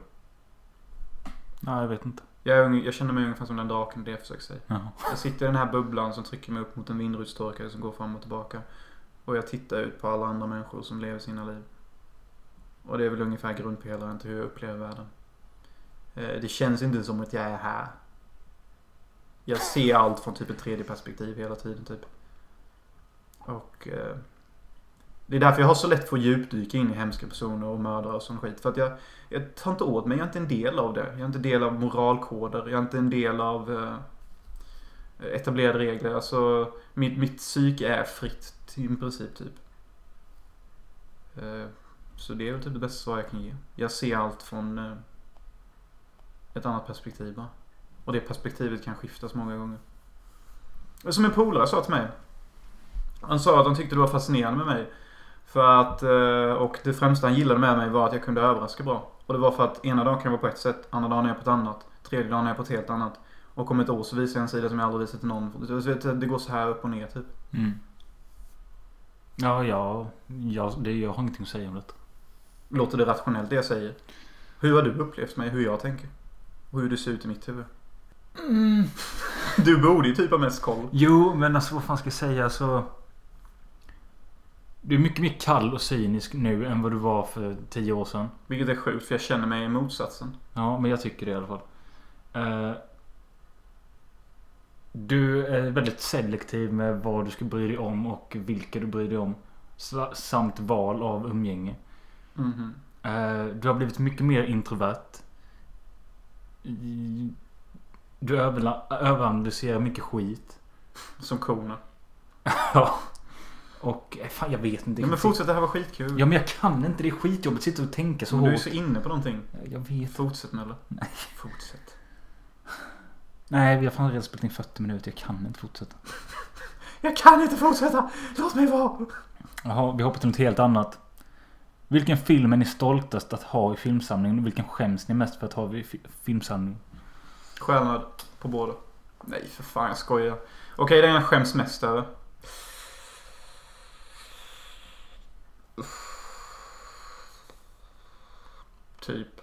[SPEAKER 2] Nej, jag vet inte.
[SPEAKER 1] Jag, är, unge- jag känner mig ungefär som den draken det jag försöker säga.
[SPEAKER 2] Jaha.
[SPEAKER 1] Jag sitter i den här bubblan som trycker mig upp mot en vindrutetorkare som går fram och tillbaka. Och jag tittar ut på alla andra människor som lever sina liv. Och det är väl ungefär grundpelaren till hur jag upplever världen. Eh, Det känns inte som att jag är här. Jag ser allt från typ ett tredje perspektiv hela tiden typ. Och eh, det är därför jag har så lätt för att djupdyka in i hemska personer och mördare och sån skit. För att jag, jag tar inte åt mig. Jag är inte en del av det. Jag är inte en del av moralkoder. Jag är inte en del av eh, etablerade regler. Alltså, mitt, mitt psyke är fritt till- i princip, typ. Eh, Så det är väl typ det bästa svar jag kan ge. Jag ser allt från eh, ett annat perspektiv bara. Och det perspektivet kan skiftas många gånger. Som en polare sa till mig. Han sa att han tyckte det var fascinerande med mig. För att, eh, och det främsta han gillade med mig var att jag kunde överraska bra. Och det var för att ena dagen kan jag vara på ett sätt, andra dagen är jag på ett annat. Tredje dagen är jag på ett helt annat. Och om ett år så visar jag en sida som jag aldrig visat till någon. Du vet, Det går så här upp och ner typ.
[SPEAKER 2] Mm. Ja, ja, ja det, jag har ingenting att säga om detta.
[SPEAKER 1] Låter det rationellt det jag säger? Hur har du upplevt mig? Hur jag tänker? Och hur det ser ut i mitt huvud.
[SPEAKER 2] Mm.
[SPEAKER 1] (laughs) Du borde ju typ ha mest koll.
[SPEAKER 2] Jo, men alltså vad fan ska jag säga? Så... Du är mycket mer kall och cynisk nu än vad du var för tio år sedan.
[SPEAKER 1] Vilket är sjukt för jag känner mig i motsatsen.
[SPEAKER 2] Ja, men jag tycker det i alla fall. Eh, du är väldigt selektiv med vad du ska bry dig om och vilka du bryr dig om. sa- Samt val av umgänge.
[SPEAKER 1] Mhm.
[SPEAKER 2] Eh, Du har blivit mycket mer introvert. I- Du överla- överanalyserar mycket skit.
[SPEAKER 1] Som korna.
[SPEAKER 2] Ja. Och eh, fan jag vet inte.
[SPEAKER 1] Nej, men
[SPEAKER 2] riktigt.
[SPEAKER 1] fortsätt, det här var skitkul.
[SPEAKER 2] Ja men jag kan inte. Det är skitjobbigt. Sitta och tänka så
[SPEAKER 1] Men du är ju
[SPEAKER 2] hårt.
[SPEAKER 1] så inne på någonting.
[SPEAKER 2] Jag vet.
[SPEAKER 1] Fortsätt Melle. Nej. Fortsätt.
[SPEAKER 2] Nej vi har fan redan spelat in 40 minuter. Jag kan inte fortsätta.
[SPEAKER 1] Jag kan inte fortsätta! Låt mig vara!
[SPEAKER 2] Jaha, vi hoppar till något helt annat. Vilken film är ni stoltast att ha i filmsamlingen? Och vilken skäms ni mest för att ha i fi- filmsamlingen?
[SPEAKER 1] Stjärnor på båda. Nej för fan jag skojar. Okej den jag skäms mest över. Typ.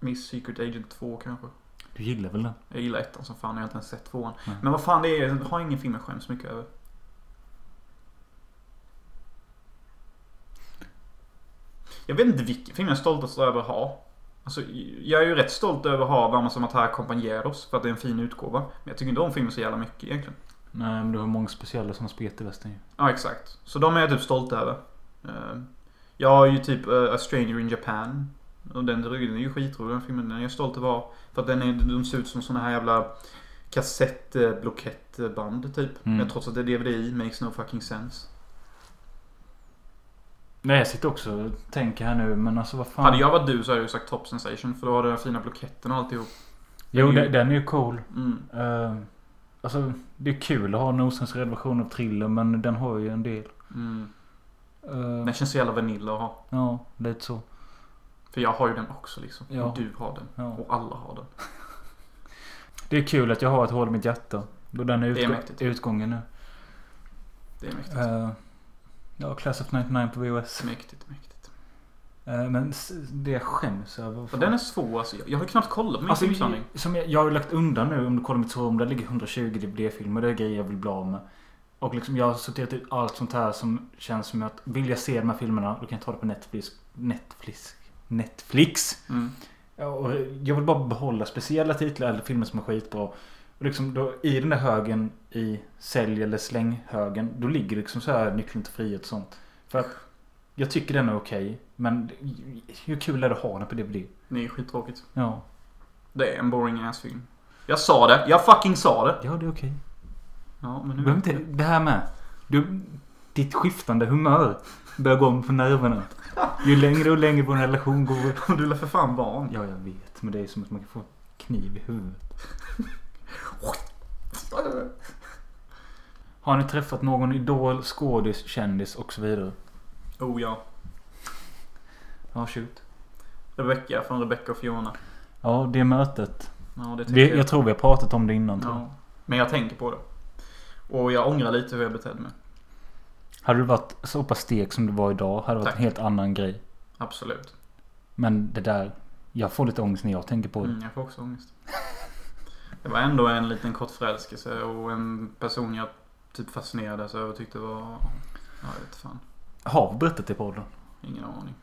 [SPEAKER 1] Miss Secret Agent 2 kanske.
[SPEAKER 2] Du gillar väl den?
[SPEAKER 1] Jag gillar ettan som fan, jag har inte ens sett tvåan.
[SPEAKER 2] Nej.
[SPEAKER 1] Men vad fan det är, jag har ingen film jag skäms mycket över. Jag vet inte vilken film jag är stoltast över att ha. Alltså, jag är ju rätt stolt över att ha Vamos Amatara Compañeros för att det är en fin utgåva. Men jag tycker inte om filmen så jävla mycket egentligen.
[SPEAKER 2] Nej men du har många speciella som har spet i västen ju.
[SPEAKER 1] Ja, exakt. Så de är jag typ stolt över. Eh, Jag har ju typ eh, A Stranger in Japan. Och den ryggen är ju skitrolig den filmen. Den är jag stolt över att ha. För att den är, de ser ut som såna här jävla kassettblokettband typ.
[SPEAKER 2] Mm.
[SPEAKER 1] Men trots att det är DVD i, makes no fucking sense.
[SPEAKER 2] Nej jag sitter också och tänker här nu men alltså vad fan.
[SPEAKER 1] Hade jag varit du så hade jag ju sagt Top Sensation. För då har den här fina bloketten och alltihop.
[SPEAKER 2] Jo den, den är ju cool.
[SPEAKER 1] Mm.
[SPEAKER 2] Eh, alltså det är kul att ha en osensurerad version av thriller men den har ju en del.
[SPEAKER 1] Mm.
[SPEAKER 2] Eh,
[SPEAKER 1] Den känns så jävla vanilla att ha.
[SPEAKER 2] ja lite så.
[SPEAKER 1] För jag har ju den också liksom.
[SPEAKER 2] Ja.
[SPEAKER 1] Och du har den.
[SPEAKER 2] Ja.
[SPEAKER 1] Och alla har den.
[SPEAKER 2] Det är kul att jag har ett hål i mitt hjärta. Då den är,
[SPEAKER 1] Det är
[SPEAKER 2] utgå-
[SPEAKER 1] mäktigt.
[SPEAKER 2] utgången nu.
[SPEAKER 1] Det är mäktigt.
[SPEAKER 2] Eh, ja Class of 99 på VHS.
[SPEAKER 1] Mäktigt, mäktigt.
[SPEAKER 2] Eh, men s- det jag skäms över.
[SPEAKER 1] Och den är svår alltså. Jag- Jag har ju knappt kollat på min
[SPEAKER 2] Alltså,
[SPEAKER 1] filmsamling.
[SPEAKER 2] som jag, jag har ju lagt undan nu om du kollar mitt sovrum. Där ligger 120 DVD-filmer. Det är grejer jag vill bli av med. Och liksom jag har sorterat ut allt sånt här som känns som att vill jag se de här filmerna då kan jag ta det på Netflix. Netflix. Netflix.
[SPEAKER 1] Mm.
[SPEAKER 2] Ja, och jag vill bara behålla speciella titlar eller filmer som är skitbra. Och liksom då, I den där högen i sälj eller släng-högen. Då ligger liksom så här Nyckeln till frihet och sånt. För att jag tycker den är okej. men hur kul är det att ha den på DVD?
[SPEAKER 1] Det är skittråkigt.
[SPEAKER 2] Ja,
[SPEAKER 1] Det är en boring ass film. Jag sa det. Jag fucking sa det.
[SPEAKER 2] ja det är okej.
[SPEAKER 1] Ja, men
[SPEAKER 2] Du
[SPEAKER 1] nu...
[SPEAKER 2] behöver inte, det här med. Du, ditt skiftande humör börjar gå om på nerverna. Ju längre och längre vår relation går.
[SPEAKER 1] (laughs) Du lär för fan barn.
[SPEAKER 2] Ja, jag vet. Men det är som att man kan få kniv i huvudet. (laughs) Har ni träffat någon idol, skådis, kändis och så vidare?
[SPEAKER 1] Oh ja.
[SPEAKER 2] Ja, shoot.
[SPEAKER 1] Rebecca från Rebecca och Fiona.
[SPEAKER 2] Ja, det mötet.
[SPEAKER 1] Ja, det tänker
[SPEAKER 2] Vi, jag tror vi har pratat om det innan. tror jag.
[SPEAKER 1] Ja. Men jag tänker på det. Och jag ångrar lite hur jag betedde mig.
[SPEAKER 2] Hade du varit så pass stek som du var idag hade det varit
[SPEAKER 1] Tack.
[SPEAKER 2] en helt annan grej.
[SPEAKER 1] Absolut.
[SPEAKER 2] Men det där. Jag får lite ångest när jag tänker på det.
[SPEAKER 1] Mm, jag får också ångest. (laughs) Det var ändå en liten kort förälskelse och en person jag typ fascinerades över och tyckte var... Ja, jag vet fan.
[SPEAKER 2] Har vi berättat det i podden?
[SPEAKER 1] Ingen aning.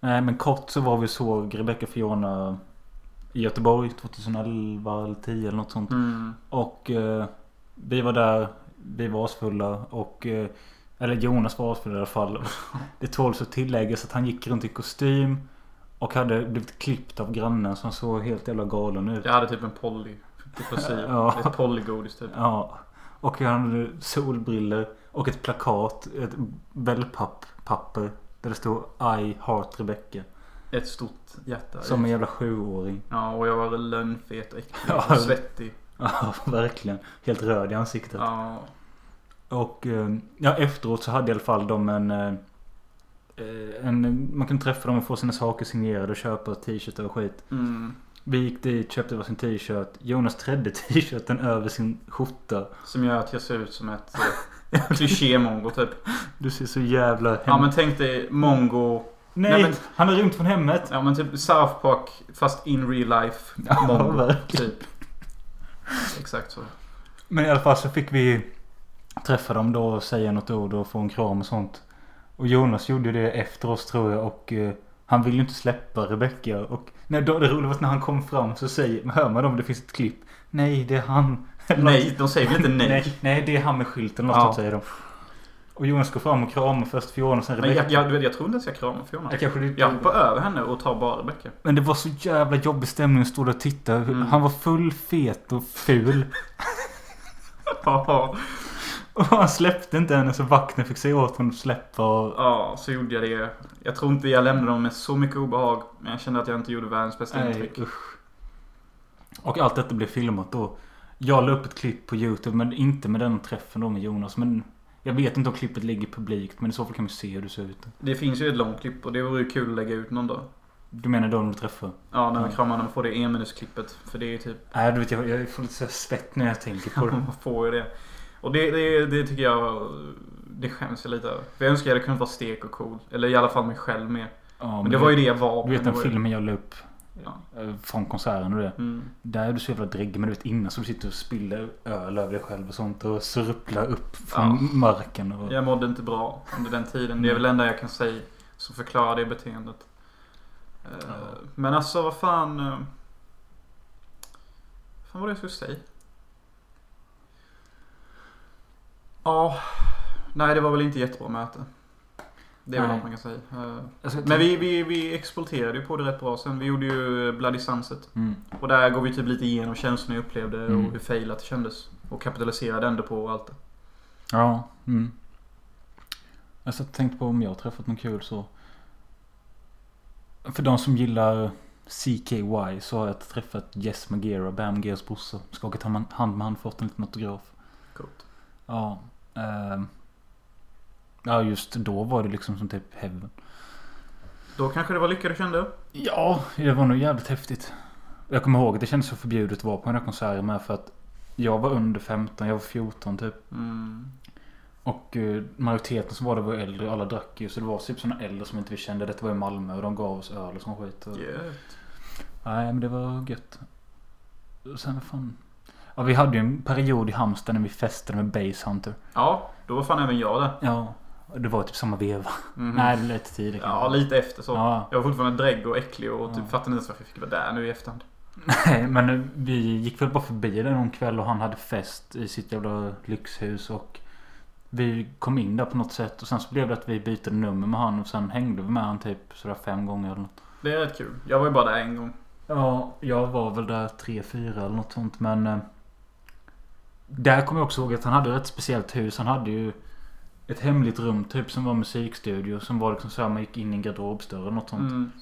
[SPEAKER 2] Nej men kort så var vi och såg Rebecca Fiona i Göteborg 2011 eller 10 eller något sånt.
[SPEAKER 1] Mm.
[SPEAKER 2] Och eh, vi var där, vi var asfulla och eh, Eller Jonas var asfull i alla fall. (laughs) Det tåls att tilläggas att han gick runt i kostym och hade blivit klippt av grannen så han såg helt jävla galen ut.
[SPEAKER 1] Jag hade typ en poly. Depressiv.
[SPEAKER 2] Ja.
[SPEAKER 1] Ett polygodis typ.
[SPEAKER 2] Ja. Och han hade solbriller och ett plakat, ett wellpapp-papper där det stod I heart Rebecca.
[SPEAKER 1] Ett stort hjärta.
[SPEAKER 2] Som en jävla sjuåring. (laughs)
[SPEAKER 1] Ja, och jag var lönnfet och äcklig
[SPEAKER 2] Ja.
[SPEAKER 1] och svettig.
[SPEAKER 2] Ja, verkligen. Helt röd i ansiktet.
[SPEAKER 1] Ja.
[SPEAKER 2] Och eh, ja, efteråt så hade i alla fall de en, eh, eh, en... Man kunde träffa dem och få sina saker signerade och köpa t-shirtar och skit.
[SPEAKER 1] Mm.
[SPEAKER 2] Vi gick dit, köpte varsin t-shirt. Jonas trädde (laughs) t-shirten över sin skjorta.
[SPEAKER 1] Som gör att jag ser ut som ett eh, klysché-mongo typ.
[SPEAKER 2] Du ser så jävla hem...
[SPEAKER 1] Ja men tänk dig mongo
[SPEAKER 2] Nej,
[SPEAKER 1] Nej, men-
[SPEAKER 2] han har rymt från hemmet.
[SPEAKER 1] Ja men typ South Park fast in real life.
[SPEAKER 2] (laughs)
[SPEAKER 1] Bomb,
[SPEAKER 2] verkligen.
[SPEAKER 1] typ. Exakt
[SPEAKER 2] (laughs)
[SPEAKER 1] så.
[SPEAKER 2] Men i alla fall så fick vi träffa dem då och säga något ord och få en kram och sånt. Och Jonas gjorde det efter oss tror jag och eh, han ville ju inte släppa Rebecca. Och nej, då, det roliga var att när han kom fram så säger, hör man om det finns ett klipp. Nej, det är han. Eller
[SPEAKER 1] Nej, de säger väl inte nej?
[SPEAKER 2] nej, nej, det är han med skylten eller något
[SPEAKER 1] Ja.
[SPEAKER 2] sånt säger de. Och Jonas går fram och kramar först Fiona och sen
[SPEAKER 1] Men
[SPEAKER 2] Rebecca.
[SPEAKER 1] jag, jag, du vet, jag tror inte ens jag kramar Fiona.
[SPEAKER 2] Jag kanske
[SPEAKER 1] Jag hoppar över henne och tar bara Rebecca.
[SPEAKER 2] Men det var så jävla jobbig stämning att stå där och titta.
[SPEAKER 1] Mm.
[SPEAKER 2] Han var full, fet och ful. (laughs)
[SPEAKER 1] Ja,
[SPEAKER 2] och han släppte inte henne så vakten fick säga åt honom att släppa. Och...
[SPEAKER 1] ja, så gjorde jag det. Jag tror inte jag lämnade dem med så mycket obehag. Men jag kände att jag inte gjorde världens bästa
[SPEAKER 2] Nej,
[SPEAKER 1] intryck.
[SPEAKER 2] usch. Och allt detta blev filmat då. Jag la upp ett klipp på YouTube, men inte med den träffen då med Jonas. Men jag vet inte om klippet ligger publikt, men i så fall kan vi se hur det ser ut.
[SPEAKER 1] Det finns ju ett långt klipp och det vore ju kul att lägga ut någon dag.
[SPEAKER 2] Du menar då när du träffar?
[SPEAKER 1] Ja, när vi
[SPEAKER 2] Ja.
[SPEAKER 1] kramar när man får det enminutsklippet. För det är ju typ...
[SPEAKER 2] Nej, du vet, jag, jag får lite så här svett när jag tänker på
[SPEAKER 1] (laughs)
[SPEAKER 2] det.
[SPEAKER 1] Man får ju det. Och det, det, det tycker jag... Det skäms jag lite över. För jag önskar jag hade kunnat vara stek och cool. Eller i alla fall mig själv med.
[SPEAKER 2] (laughs) Ja,
[SPEAKER 1] Men det var ju det jag var.
[SPEAKER 2] Du
[SPEAKER 1] men
[SPEAKER 2] vet den
[SPEAKER 1] det var ju-
[SPEAKER 2] filmen jag la upp?
[SPEAKER 1] Ja.
[SPEAKER 2] eh, Från konserten och det.
[SPEAKER 1] Mm.
[SPEAKER 2] Där är du så jävla dräggig men du vet innan så du sitter och spiller öl över dig själv och sånt och surplar upp från
[SPEAKER 1] Ja.
[SPEAKER 2] marken. Och...
[SPEAKER 1] Jag mådde inte bra under den tiden. Det är väl
[SPEAKER 2] Mm.
[SPEAKER 1] det enda jag kan säga som förklarar det beteendet. Eh,
[SPEAKER 2] Ja.
[SPEAKER 1] Men alltså vad fan... eh, Fan vad det jag skulle säga? Ja. Nej det var väl inte jättebra möte. Det är väl
[SPEAKER 2] Nej.
[SPEAKER 1] allt man kan säga. Eh,
[SPEAKER 2] Jag ska-
[SPEAKER 1] Men vi, vi, vi exploaterade ju på det rätt bra sen. Vi gjorde ju Bloody Sunset.
[SPEAKER 2] Mm.
[SPEAKER 1] Och där går vi typ lite igenom känslorna jag upplevde
[SPEAKER 2] Mm.
[SPEAKER 1] och hur failat det kändes. Och kapitaliserade ändå på och allt det.
[SPEAKER 2] Ja. Mm. Jag satt och tänkte på om jag har träffat någon kul så. För de som gillar CKY så har jag träffat Jess Magera, Bam Gears brorsa. Skakat hand hand med hand, fått en liten autograf.
[SPEAKER 1] Coolt.
[SPEAKER 2] Ja. ehm. ja just då var det liksom som typ heaven.
[SPEAKER 1] Då kanske det var lycka du kände.
[SPEAKER 2] Ja, det var nog jävligt häftigt. Jag kommer ihåg att det kändes så förbjudet att vara på den här konserten med för att jag var under 15, jag var 14 typ.
[SPEAKER 1] Mm.
[SPEAKER 2] Och eh, majoriteten som var där var äldre och alla drack ju. Så det var typ såna äldre som inte vi kände. Detta var i Malmö och de gav oss öl och sån skit. Och... Nej men det var gött. Och sen vad fan. Ja vi hade ju en period i Halmstad när vi festade med Basehunter.
[SPEAKER 1] Ja, då var fan även jag där.
[SPEAKER 2] Ja. och Det var typ samma veva.
[SPEAKER 1] Mhm.
[SPEAKER 2] Nej det var lite tidigare.
[SPEAKER 1] Ja, lite efter så.
[SPEAKER 2] Ja. (laughs)
[SPEAKER 1] Jag var fortfarande drägg och äcklig och typ
[SPEAKER 2] Ja.
[SPEAKER 1] fattade inte ens varför jag fick vara där nu i efterhand.
[SPEAKER 2] Nej, men eh, vi gick väl bara förbi där någon kväll och han hade fest i sitt jävla lyxhus och vi kom in där på något sätt och sen så blev det att vi bytte nummer med han och sen hängde vi med han typ sådär fem gånger eller något.
[SPEAKER 1] Det är rätt kul. Jag var ju bara där en gång.
[SPEAKER 2] Ja, jag var väl där tre, fyra eller något sånt men... eh, Där kommer jag också ihåg att han hade ett rätt speciellt hus. Han hade ju ett hemligt rum typ som var musikstudio som var liksom såhär man gick in i en garderobsdörr eller något sånt.
[SPEAKER 1] Mm.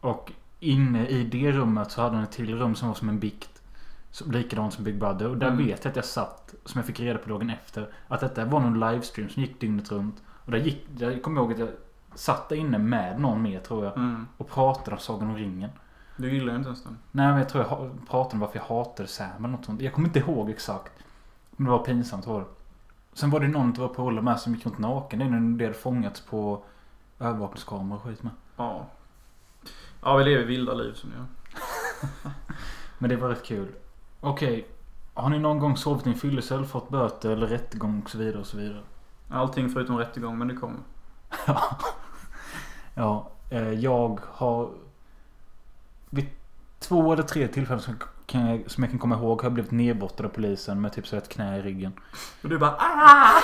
[SPEAKER 2] Och inne i det rummet så hade han ett till rum som var som en bikt. Som, likadant som Big Brother. Och där
[SPEAKER 1] Mm.
[SPEAKER 2] vet jag att jag satt, som jag fick reda på dagen efter, att detta var någon livestream som gick dygnet runt. Och där gick, jag kommer ihåg att jag satt där inne med någon mer tror jag.
[SPEAKER 1] Mm.
[SPEAKER 2] Och pratade om Sagan om ringen.
[SPEAKER 1] Du gillar ju inte ens den.
[SPEAKER 2] Nej men jag tror jag ha- pratade om varför jag hatade Sam eller något sånt. Jag kommer inte ihåg exakt. Men det var pinsamt var det. Sen var det någon av våra polare med som gick runt naken. Det är när det hade fångats på övervakningskameror och skit med.
[SPEAKER 1] Ja. Ja, vi lever vilda liv som ni gör.
[SPEAKER 2] Men det var rätt kul. Okej. Har ni någon gång sovit i en fyllecell, fått böter eller rättegång och så vidare och så vidare?
[SPEAKER 1] Allting förutom rättegång, men det kommer.
[SPEAKER 2] Ja, eh, jag har... Vid två eller tre tillfällen som, kan jag, som jag kan komma ihåg har jag blivit nedbottad av polisen med typ så här ett knä i ryggen.
[SPEAKER 1] Och du bara ah!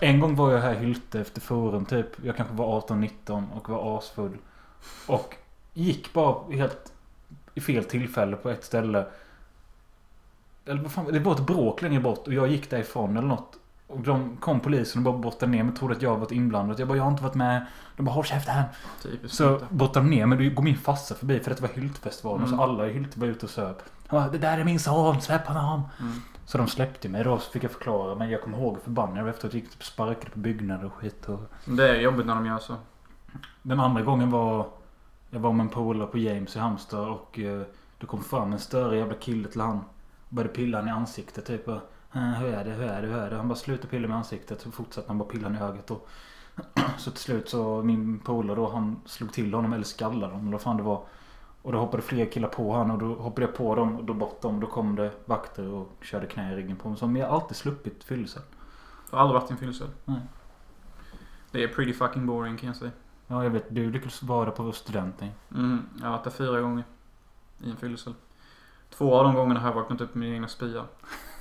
[SPEAKER 2] En gång var jag här i Hylte efter forum typ. Jag kanske var 18-19 och var asfull. Och gick bara helt i fel tillfälle på ett ställe. Eller vad fan, det var ett bråk längre bort och jag gick därifrån eller något. Och de kom polisen och bara bottade ner mig och trodde att jag varit inblandad. Jag bara, jag har inte varit med. De bara, håll käften.
[SPEAKER 1] Typiskt.
[SPEAKER 2] Så bottade de ner mig. Då går min farsa förbi för detta var Hyltefestivalen.
[SPEAKER 1] Mm.
[SPEAKER 2] Så alla i Hylte var ute och söp. Han bara, det där är min son, släpp honom.
[SPEAKER 1] Mm.
[SPEAKER 2] Så de släppte mig då så fick jag förklara men jag kommer ihåg hur förbannad jag var efteråt. Gick typ och sparkade på byggnader och skit. Och...
[SPEAKER 1] Det är jobbigt när de gör så.
[SPEAKER 2] Den andra gången var jag var med en polare på James i Halmstad och eh, det kom fram en större jävla kille till han. Och började pilla han i ansiktet typ. och, "Eh, Hur är det? Hur är det? Hur är det? Han bara slutade pilla mig i ansiktet. Så fortsatte han bara pilla han i ögat. Och (clears throat) Så till slut så min polare då han slog till honom eller skallade honom eller vad fan det var. Och då hoppade fler killar på honom och då hoppade jag på dem och då bort dem. Då kom det vakter och körde knä i ryggen på mig. Som jag alltid sluppit fyllelse.
[SPEAKER 1] Jag har aldrig varit i en fyllecell.
[SPEAKER 2] Nej.
[SPEAKER 1] Det är pretty fucking boring kan jag säga.
[SPEAKER 2] Ja jag vet, du lyckades vara på studenten.
[SPEAKER 1] Mm, jag har varit där fyra gånger. I en fyllecell. Två av de gångerna har jag vaknat upp med min egna spya.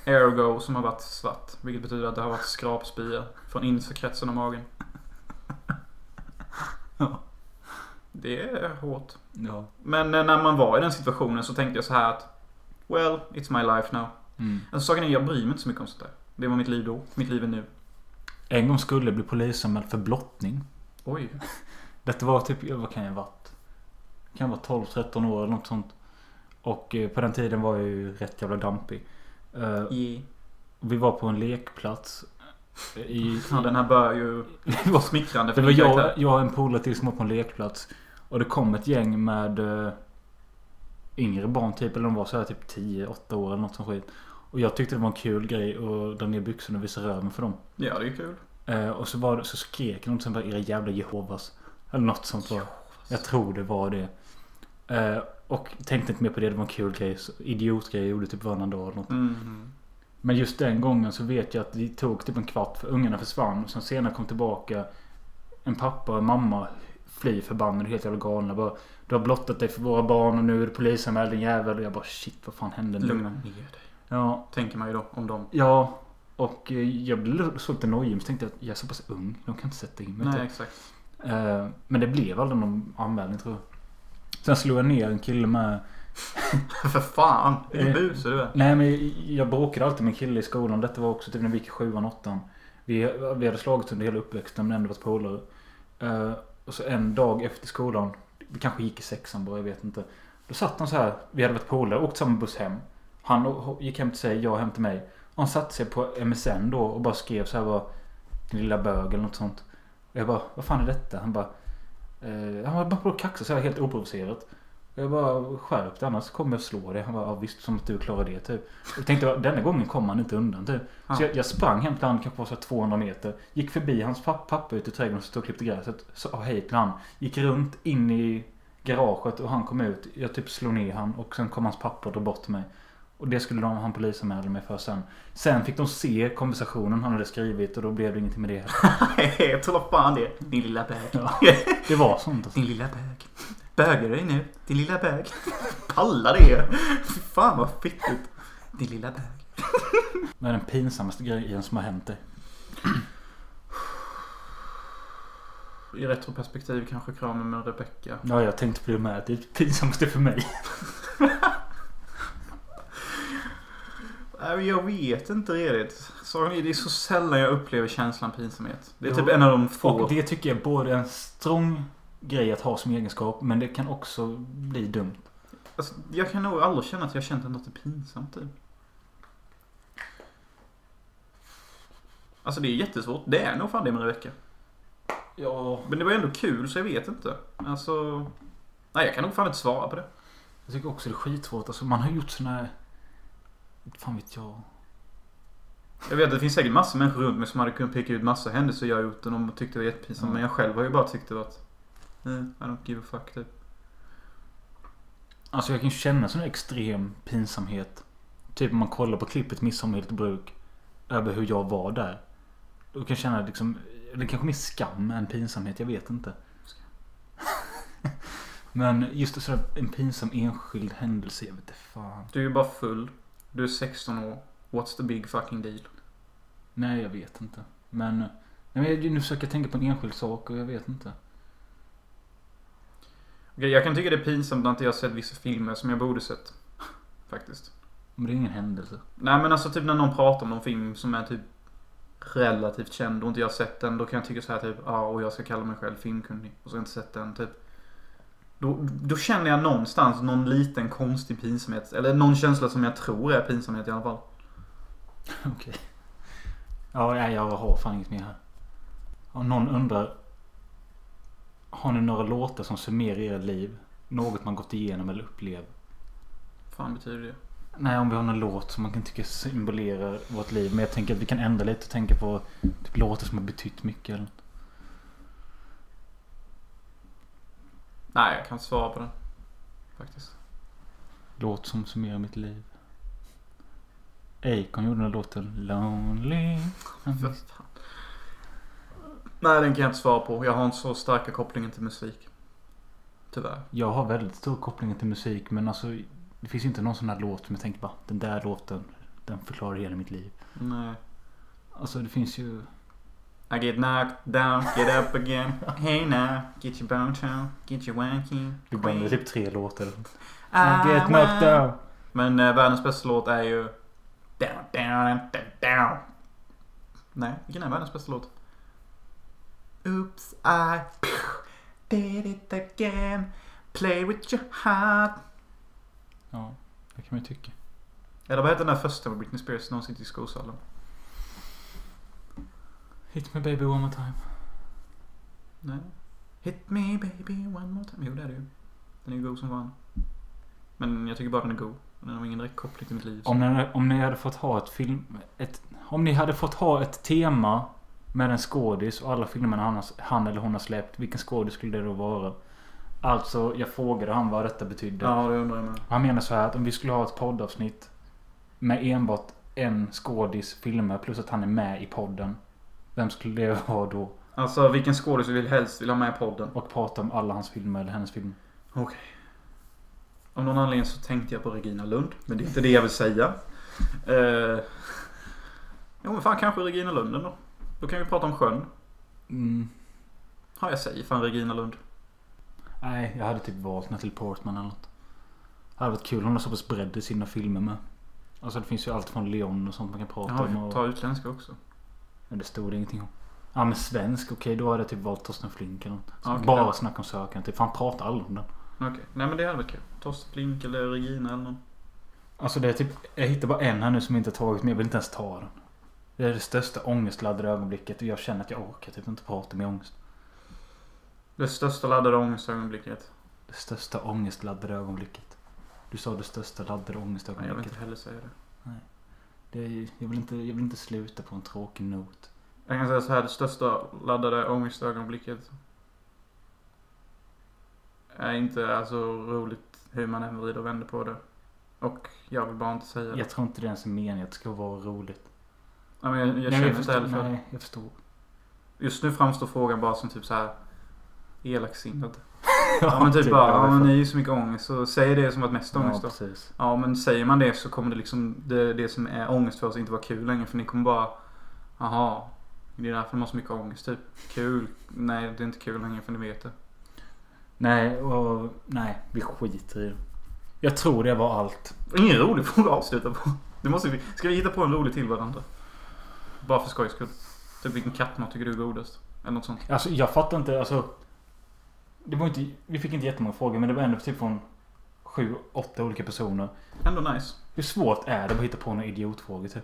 [SPEAKER 1] Ergo som har varit svart. Vilket betyder att det har varit skrapspya. Från innersta kretsen av magen.
[SPEAKER 2] Ja.
[SPEAKER 1] Det är hårt.
[SPEAKER 2] Ja.
[SPEAKER 1] Men eh, när man var i den situationen så tänkte jag så här att Well, it's my life now.
[SPEAKER 2] Mm.
[SPEAKER 1] Alltså saken är, jag bryr mig inte så mycket om sånt där. Det var mitt liv då. Mitt liv är nu.
[SPEAKER 2] En gång skulle jag bli polisanmäld för blottning.
[SPEAKER 1] Oj.
[SPEAKER 2] Detta var typ, ja, vad kan jag ha varit? Kan vara 12-13 år eller något sånt. Och eh, på den tiden var jag ju rätt jävla dampig. Eh,
[SPEAKER 1] I...
[SPEAKER 2] Vi var på en lekplats. I,
[SPEAKER 1] Ja, den här börjar ju
[SPEAKER 2] (laughs) det
[SPEAKER 1] vara
[SPEAKER 2] var,
[SPEAKER 1] smickrande.
[SPEAKER 2] det
[SPEAKER 1] för
[SPEAKER 2] var
[SPEAKER 1] din
[SPEAKER 2] jag,
[SPEAKER 1] karaktär.
[SPEAKER 2] jag och en polare till som var på en lekplats. Och det kom ett gäng med eh, yngre barn typ. Eller de var så här typ 10-8 år eller något sånt skit. Och jag tyckte det var en kul grej att dra ner byxorna och visa röven för dem.
[SPEAKER 1] Ja, det är kul.
[SPEAKER 2] Eh, och så, var det, så skrek de sen bara era jävla Jehovas. Eller något sånt var Jag tror det var det. Eh, och tänkte inte mer på det. Det var en kul grej. Så Idiotgrej jag gjorde typ varannan dag eller något. Mm.
[SPEAKER 1] Mhm.
[SPEAKER 2] Men just den gången så vet jag att det tog typ en kvart för ungarna försvann. Och sen senare kom tillbaka en pappa och en mamma fly förbannade och helt jävla galna. Bara, du har blottat dig för våra barn och nu är du polisanmäld din jävel. Och jag bara shit vad fan hände nu?
[SPEAKER 1] Lugna ner dig.
[SPEAKER 2] Ja,
[SPEAKER 1] Tänker man ju då om dem.
[SPEAKER 2] ja. Och eh, jag blev så lite nojig. Men så tänkte jag att jag är så pass ung. De kan inte sätta in mig.
[SPEAKER 1] Nej,
[SPEAKER 2] typ.
[SPEAKER 1] exakt. (laughs)
[SPEAKER 2] Eh, Men det blev aldrig någon anmälning tror jag. Sen slog jag ner en kille med...
[SPEAKER 1] för fan! Vilken
[SPEAKER 2] Eh.
[SPEAKER 1] buse du är. (laughs)
[SPEAKER 2] Nej men jag bråkade alltid med en kille i skolan. Detta var också typ när vi gick i sjuan, åttan. Vi, vi hade slagits under hela uppväxten men ändå varit polare. Eh, och så en dag efter skolan. Vi kanske gick i sexan bara, jag vet inte. Då satt han så här. Vi hade varit polare, åkt samma buss hem. Han å- gick hem till sig, jag hem till mig. Han satte sig på MSN då och bara skrev så här bara. Din lilla bög eller något sånt. Och jag bara, vad fan är detta? Han bara. Eh, han var bara på och kaxade så här helt oprovocerat. Och jag bara, skärp dig annars kommer jag slå dig. Han bara, ja, visst som att du klarar det typ. Och jag tänkte, denna gången kom han inte undan typ.
[SPEAKER 1] Ja.
[SPEAKER 2] Så jag, jag sprang hem till han kanske var så här 200 meter. Gick förbi hans papp, pappa ute i trädgården som stod och klippte gräset. Sa hej till han. Gick runt in i garaget och han kom ut. Jag typ slog ner han och sen kom hans pappa och drog bort mig. Och det skulle de, han polisanmälde mig för sen. Sen fick de se konversationen han hade skrivit och då blev det ingenting med det.
[SPEAKER 1] Jag tror fan det. Din lilla bög.
[SPEAKER 2] Ja. Det var sånt
[SPEAKER 1] (laughs)
[SPEAKER 2] alltså.
[SPEAKER 1] Din lilla bög. Bögar dig nu. Din lilla bög. (laughs) Palla det. Fy fan vad fittigt. Din lilla bög.
[SPEAKER 2] Vad är den pinsammaste grejen som har hänt dig?
[SPEAKER 1] I retroperspektiv kanske kramen med Rebecca.
[SPEAKER 2] Ja, jag tänkte på det med. Det är det pinsammaste för mig.
[SPEAKER 1] Nej, Äh, men Jag vet inte riktigt. Saken är, Det är så sällan jag upplever känslan pinsamhet. Det är
[SPEAKER 2] Jo.
[SPEAKER 1] typ en av de få.
[SPEAKER 2] Och det tycker jag är både en strong grej att ha som egenskap, men det kan också bli dumt.
[SPEAKER 1] Alltså, jag kan nog aldrig känna att jag har känt något pinsamt typ. Alltså det är jättesvårt. Det är nog fan det med Rebecca.
[SPEAKER 2] Ja.
[SPEAKER 1] Men det var ändå kul så jag vet inte. Alltså... Nej, jag kan nog fan inte svara på det.
[SPEAKER 2] Jag tycker också det är skitsvårt. Alltså, man har gjort såna här... Fan vet jag.
[SPEAKER 1] Jag vet att det finns säkert massor av människor runt mig som hade kunnat peka ut massa händelser jag gjort och de tyckte det var jättepinsamt.
[SPEAKER 2] Mm.
[SPEAKER 1] Men jag själv har ju bara tyckt det var att... Nej, I don't give a fuck typ.
[SPEAKER 2] Alltså jag kan känna sån här extrem pinsamhet. Typ om man kollar på klippet Midsommar i bruk. Över hur jag var där. Då kan jag känna liksom... Eller kanske mer skam än pinsamhet. Jag vet inte. (laughs) men just sådär en pinsam enskild händelse. Jag vet inte fan.
[SPEAKER 1] Du är ju bara full. Du är 16 år. What's the big fucking deal?
[SPEAKER 2] Nej, jag vet inte. Men... Nej, men jag- nu försöker jag tänka på en enskild sak och jag vet inte.
[SPEAKER 1] Okej, jag kan tycka det är pinsamt att inte jag har sett vissa filmer som jag borde sett. (laughs) Faktiskt.
[SPEAKER 2] Men det är ingen händelse.
[SPEAKER 1] Nej men alltså typ när någon pratar om någon film som är typ relativt känd och inte jag har sett den. Då kan jag tycka så här typ, ja och jag ska kalla mig själv filmkunnig. Och så har jag inte sett den typ. Då, då känner jag någonstans någon liten konstig pinsamhet. Eller någon känsla som jag tror är pinsamhet i alla fall.
[SPEAKER 2] Okej. Ja, nej, jag har fan inget mer här. Om någon undrar. Har ni några låtar som summerar era liv? Något man gått igenom eller upplevt?
[SPEAKER 1] fan betyder det?
[SPEAKER 2] Nej, om vi har någon låt som man kan tycka symbolerar vårt liv. Men jag tänker att vi kan ändra lite och tänka på typ låtar som har betytt mycket. Eller... något.
[SPEAKER 1] Nej, jag kan inte svara på den. Faktiskt.
[SPEAKER 2] Låt som summerar mitt liv. Akon gjorde den här låten Lonely.
[SPEAKER 1] För fan. Nej, den kan jag inte svara på. Jag har inte så starka kopplingen till musik. Tyvärr.
[SPEAKER 2] Jag har väldigt stor koppling till musik men alltså Det finns ju inte någon sån här låt som jag tänker bara Den där låten Den förklarar hela mitt liv.
[SPEAKER 1] Nej.
[SPEAKER 2] Alltså det finns ju
[SPEAKER 1] I get knocked down, get up again. (laughs) Hey now, get your bone down, get your wanking.
[SPEAKER 2] Det är bara typ tre låtar.
[SPEAKER 1] I
[SPEAKER 2] Get knocked down.
[SPEAKER 1] Men eh, världens bästa låt är ju... uh, Down, down, down, down. Nej, vilken är världens bästa låt? Oops, I (laughs) did it again. Play with your heart.
[SPEAKER 2] Ja, det kan man ju tycka.
[SPEAKER 1] Eller vad hette den där första med Britney Spears när hon sitter i skosalen?
[SPEAKER 2] Hit me baby one more time.
[SPEAKER 1] Nej. Hit me baby one more time. Jo, det är det ju. Den är ju god som fan. Men jag tycker bara den är god. Den har ingen direkt koppling till mitt liv. så-
[SPEAKER 2] Om ni, om ni hade fått ha ett film... Ett, om ni hade fått ha ett tema med en skådis och alla filmerna han, har- han eller hon har släppt. Vilken skådis skulle det då vara? Alltså, jag frågade han vad detta betydde.
[SPEAKER 1] Ja, det undrar jag med.
[SPEAKER 2] Han menar så här att om vi skulle ha ett poddavsnitt med enbart en skådis filmer plus att han är med i podden. Vem skulle det vara då?
[SPEAKER 1] Alltså vilken skådis vi vill helst vill ha med i podden.
[SPEAKER 2] Och prata om alla hans filmer eller hennes filmer.
[SPEAKER 1] Av någon anledning så tänkte jag på Regina Lund. Men det är inte det jag vill säga. Eh, jo men fan kanske Regina Lund ändå. Då kan vi prata om sjön.
[SPEAKER 2] Mm.
[SPEAKER 1] Ja jag säger fan Regina Lund.
[SPEAKER 2] Nej, jag hade typ valt Natalie Portman eller något. Det hade varit kul. Hon har så pass bredd i sina filmer med. Alltså det finns ju allt från Leon och sånt man kan prata
[SPEAKER 1] Ja,
[SPEAKER 2] om.
[SPEAKER 1] vi
[SPEAKER 2] Och,
[SPEAKER 1] tar utländska också.
[SPEAKER 2] Men det stod det ingenting om. Ja men svensk, okej då hade jag typ valt Torsten Flink eller något. Som
[SPEAKER 1] Ja, okej.
[SPEAKER 2] Bara snack om sökaren. Typ. Fan prata aldrig om den.
[SPEAKER 1] Okej. Nej men det hade varit kul. Torsten Flink eller Regina eller någon.
[SPEAKER 2] Alltså det är typ, jag hittar bara en här nu som jag inte har tagit men jag vill inte ens ta den. Det är det största ångestladdade ögonblicket och jag känner att jag orkar typ inte prata med ångest.
[SPEAKER 1] Det största laddade ångestögonblicket.
[SPEAKER 2] Det största ångestladdade ögonblicket. Du sa det största laddade
[SPEAKER 1] Nej jag vill
[SPEAKER 2] ångestögonblicket.
[SPEAKER 1] inte heller säga det.
[SPEAKER 2] Det är, jag, vill inte, jag vill inte sluta på en tråkig not.
[SPEAKER 1] Jag kan säga så här. Det största laddade ångestögonblicket. Är inte alltså roligt hur man än vrider och vänder på det. Och jag vill bara inte säga det.
[SPEAKER 2] Jag tror inte det ens är meningen att det ska vara roligt.
[SPEAKER 1] Ja, men jag, jag
[SPEAKER 2] Nej,
[SPEAKER 1] känner inte
[SPEAKER 2] förstår,
[SPEAKER 1] heller för det.
[SPEAKER 2] Nej, jag förstår.
[SPEAKER 1] Just nu framstår frågan bara som typ så här Elaksinnet.
[SPEAKER 2] Ja,
[SPEAKER 1] (laughs) Ja men typ bara, ja
[SPEAKER 2] jag
[SPEAKER 1] men
[SPEAKER 2] fattar.
[SPEAKER 1] ni är ju så mycket ångest. Så säg det som att mest
[SPEAKER 2] Ja,
[SPEAKER 1] ångest då.
[SPEAKER 2] precis.
[SPEAKER 1] Ja men säger man det så kommer det liksom det, det som är ångest för oss inte vara kul längre. För ni kommer bara, jaha. Det är därför de har så mycket ångest typ. Kul. Nej det är inte kul längre för ni vet det.
[SPEAKER 2] Nej, och, nej, vi skiter i det. Jag tror det var allt.
[SPEAKER 1] Ingen rolig (laughs) fråga att avsluta på. Det måste vi, ska vi hitta på en rolig till varandra? Bara för skojs skull. Typ vilken kattmat tycker du är godast? Eller något sånt.
[SPEAKER 2] Alltså jag fattar inte, alltså. Det var inte, vi fick inte jättemånga frågor men det var ändå typ från sju, åtta olika personer.
[SPEAKER 1] Ändå nice.
[SPEAKER 2] Hur svårt är det att hitta på några idiotfrågor typ?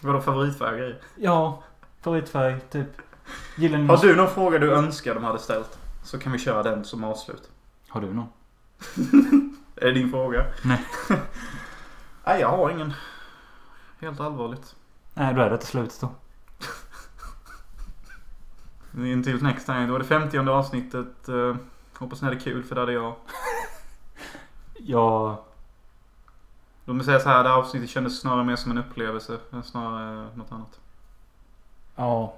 [SPEAKER 1] Vadå favoritfärg och grejer?
[SPEAKER 2] Ja, favoritfärg, typ. Gillar ni
[SPEAKER 1] Mm. Har du någon fråga du önskar de hade ställt? Så kan vi köra den som avslut.
[SPEAKER 2] Har du någon?
[SPEAKER 1] Är det din fråga?
[SPEAKER 2] Nej.
[SPEAKER 1] (laughs) Nej, jag har ingen. Helt allvarligt.
[SPEAKER 2] Nej, då är det till slut då.
[SPEAKER 1] Until next time. Det var det femtionde avsnittet. Eh, hoppas ni hade kul för det hade jag.
[SPEAKER 2] Ja,
[SPEAKER 1] Låt mig säga så här. Det här avsnittet kändes snarare mer som en upplevelse. än Snarare eh, något annat.
[SPEAKER 2] ja.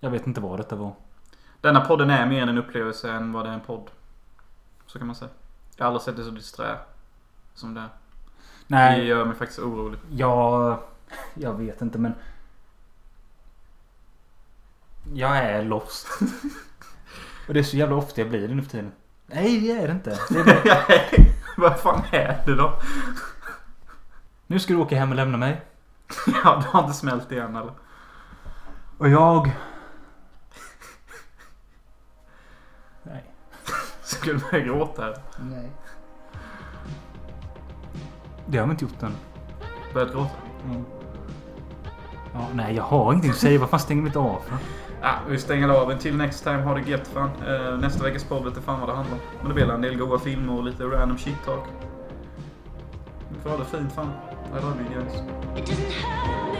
[SPEAKER 2] Jag vet inte vad detta var.
[SPEAKER 1] Denna podden är mer en upplevelse än vad det är en podd. Så kan man säga. Jag har aldrig sett det så disträ. Som det är. Det
[SPEAKER 2] Nej,
[SPEAKER 1] gör mig faktiskt orolig.
[SPEAKER 2] jag... Jag vet inte men... Jag är lost. (laughs) Och det är så jävla ofta jag blir det nu för tiden. Nej, det är det inte. Det är bara...
[SPEAKER 1] Vad fan är det då?
[SPEAKER 2] Nu ska du åka hem och lämna mig.
[SPEAKER 1] Ja, det har inte smält igen eller?
[SPEAKER 2] Och jag... Nej.
[SPEAKER 1] Skulle du börja gråta här?
[SPEAKER 2] Nej. Det har vi inte gjort än.
[SPEAKER 1] Börjat gråta?
[SPEAKER 2] Ja, nej, jag har ingenting att säga. Vad fan stänger vi inte av för?
[SPEAKER 1] Ja, Ah, vi stänger av. Till next time, ha det gött fan. Eh, nästa veckas podd vet jag fan vad det handlar om. Men det blir en del goa filmer och lite random shit talk. Ni får ha det fint fan. I love you guys.
[SPEAKER 3] It doesn't hurt me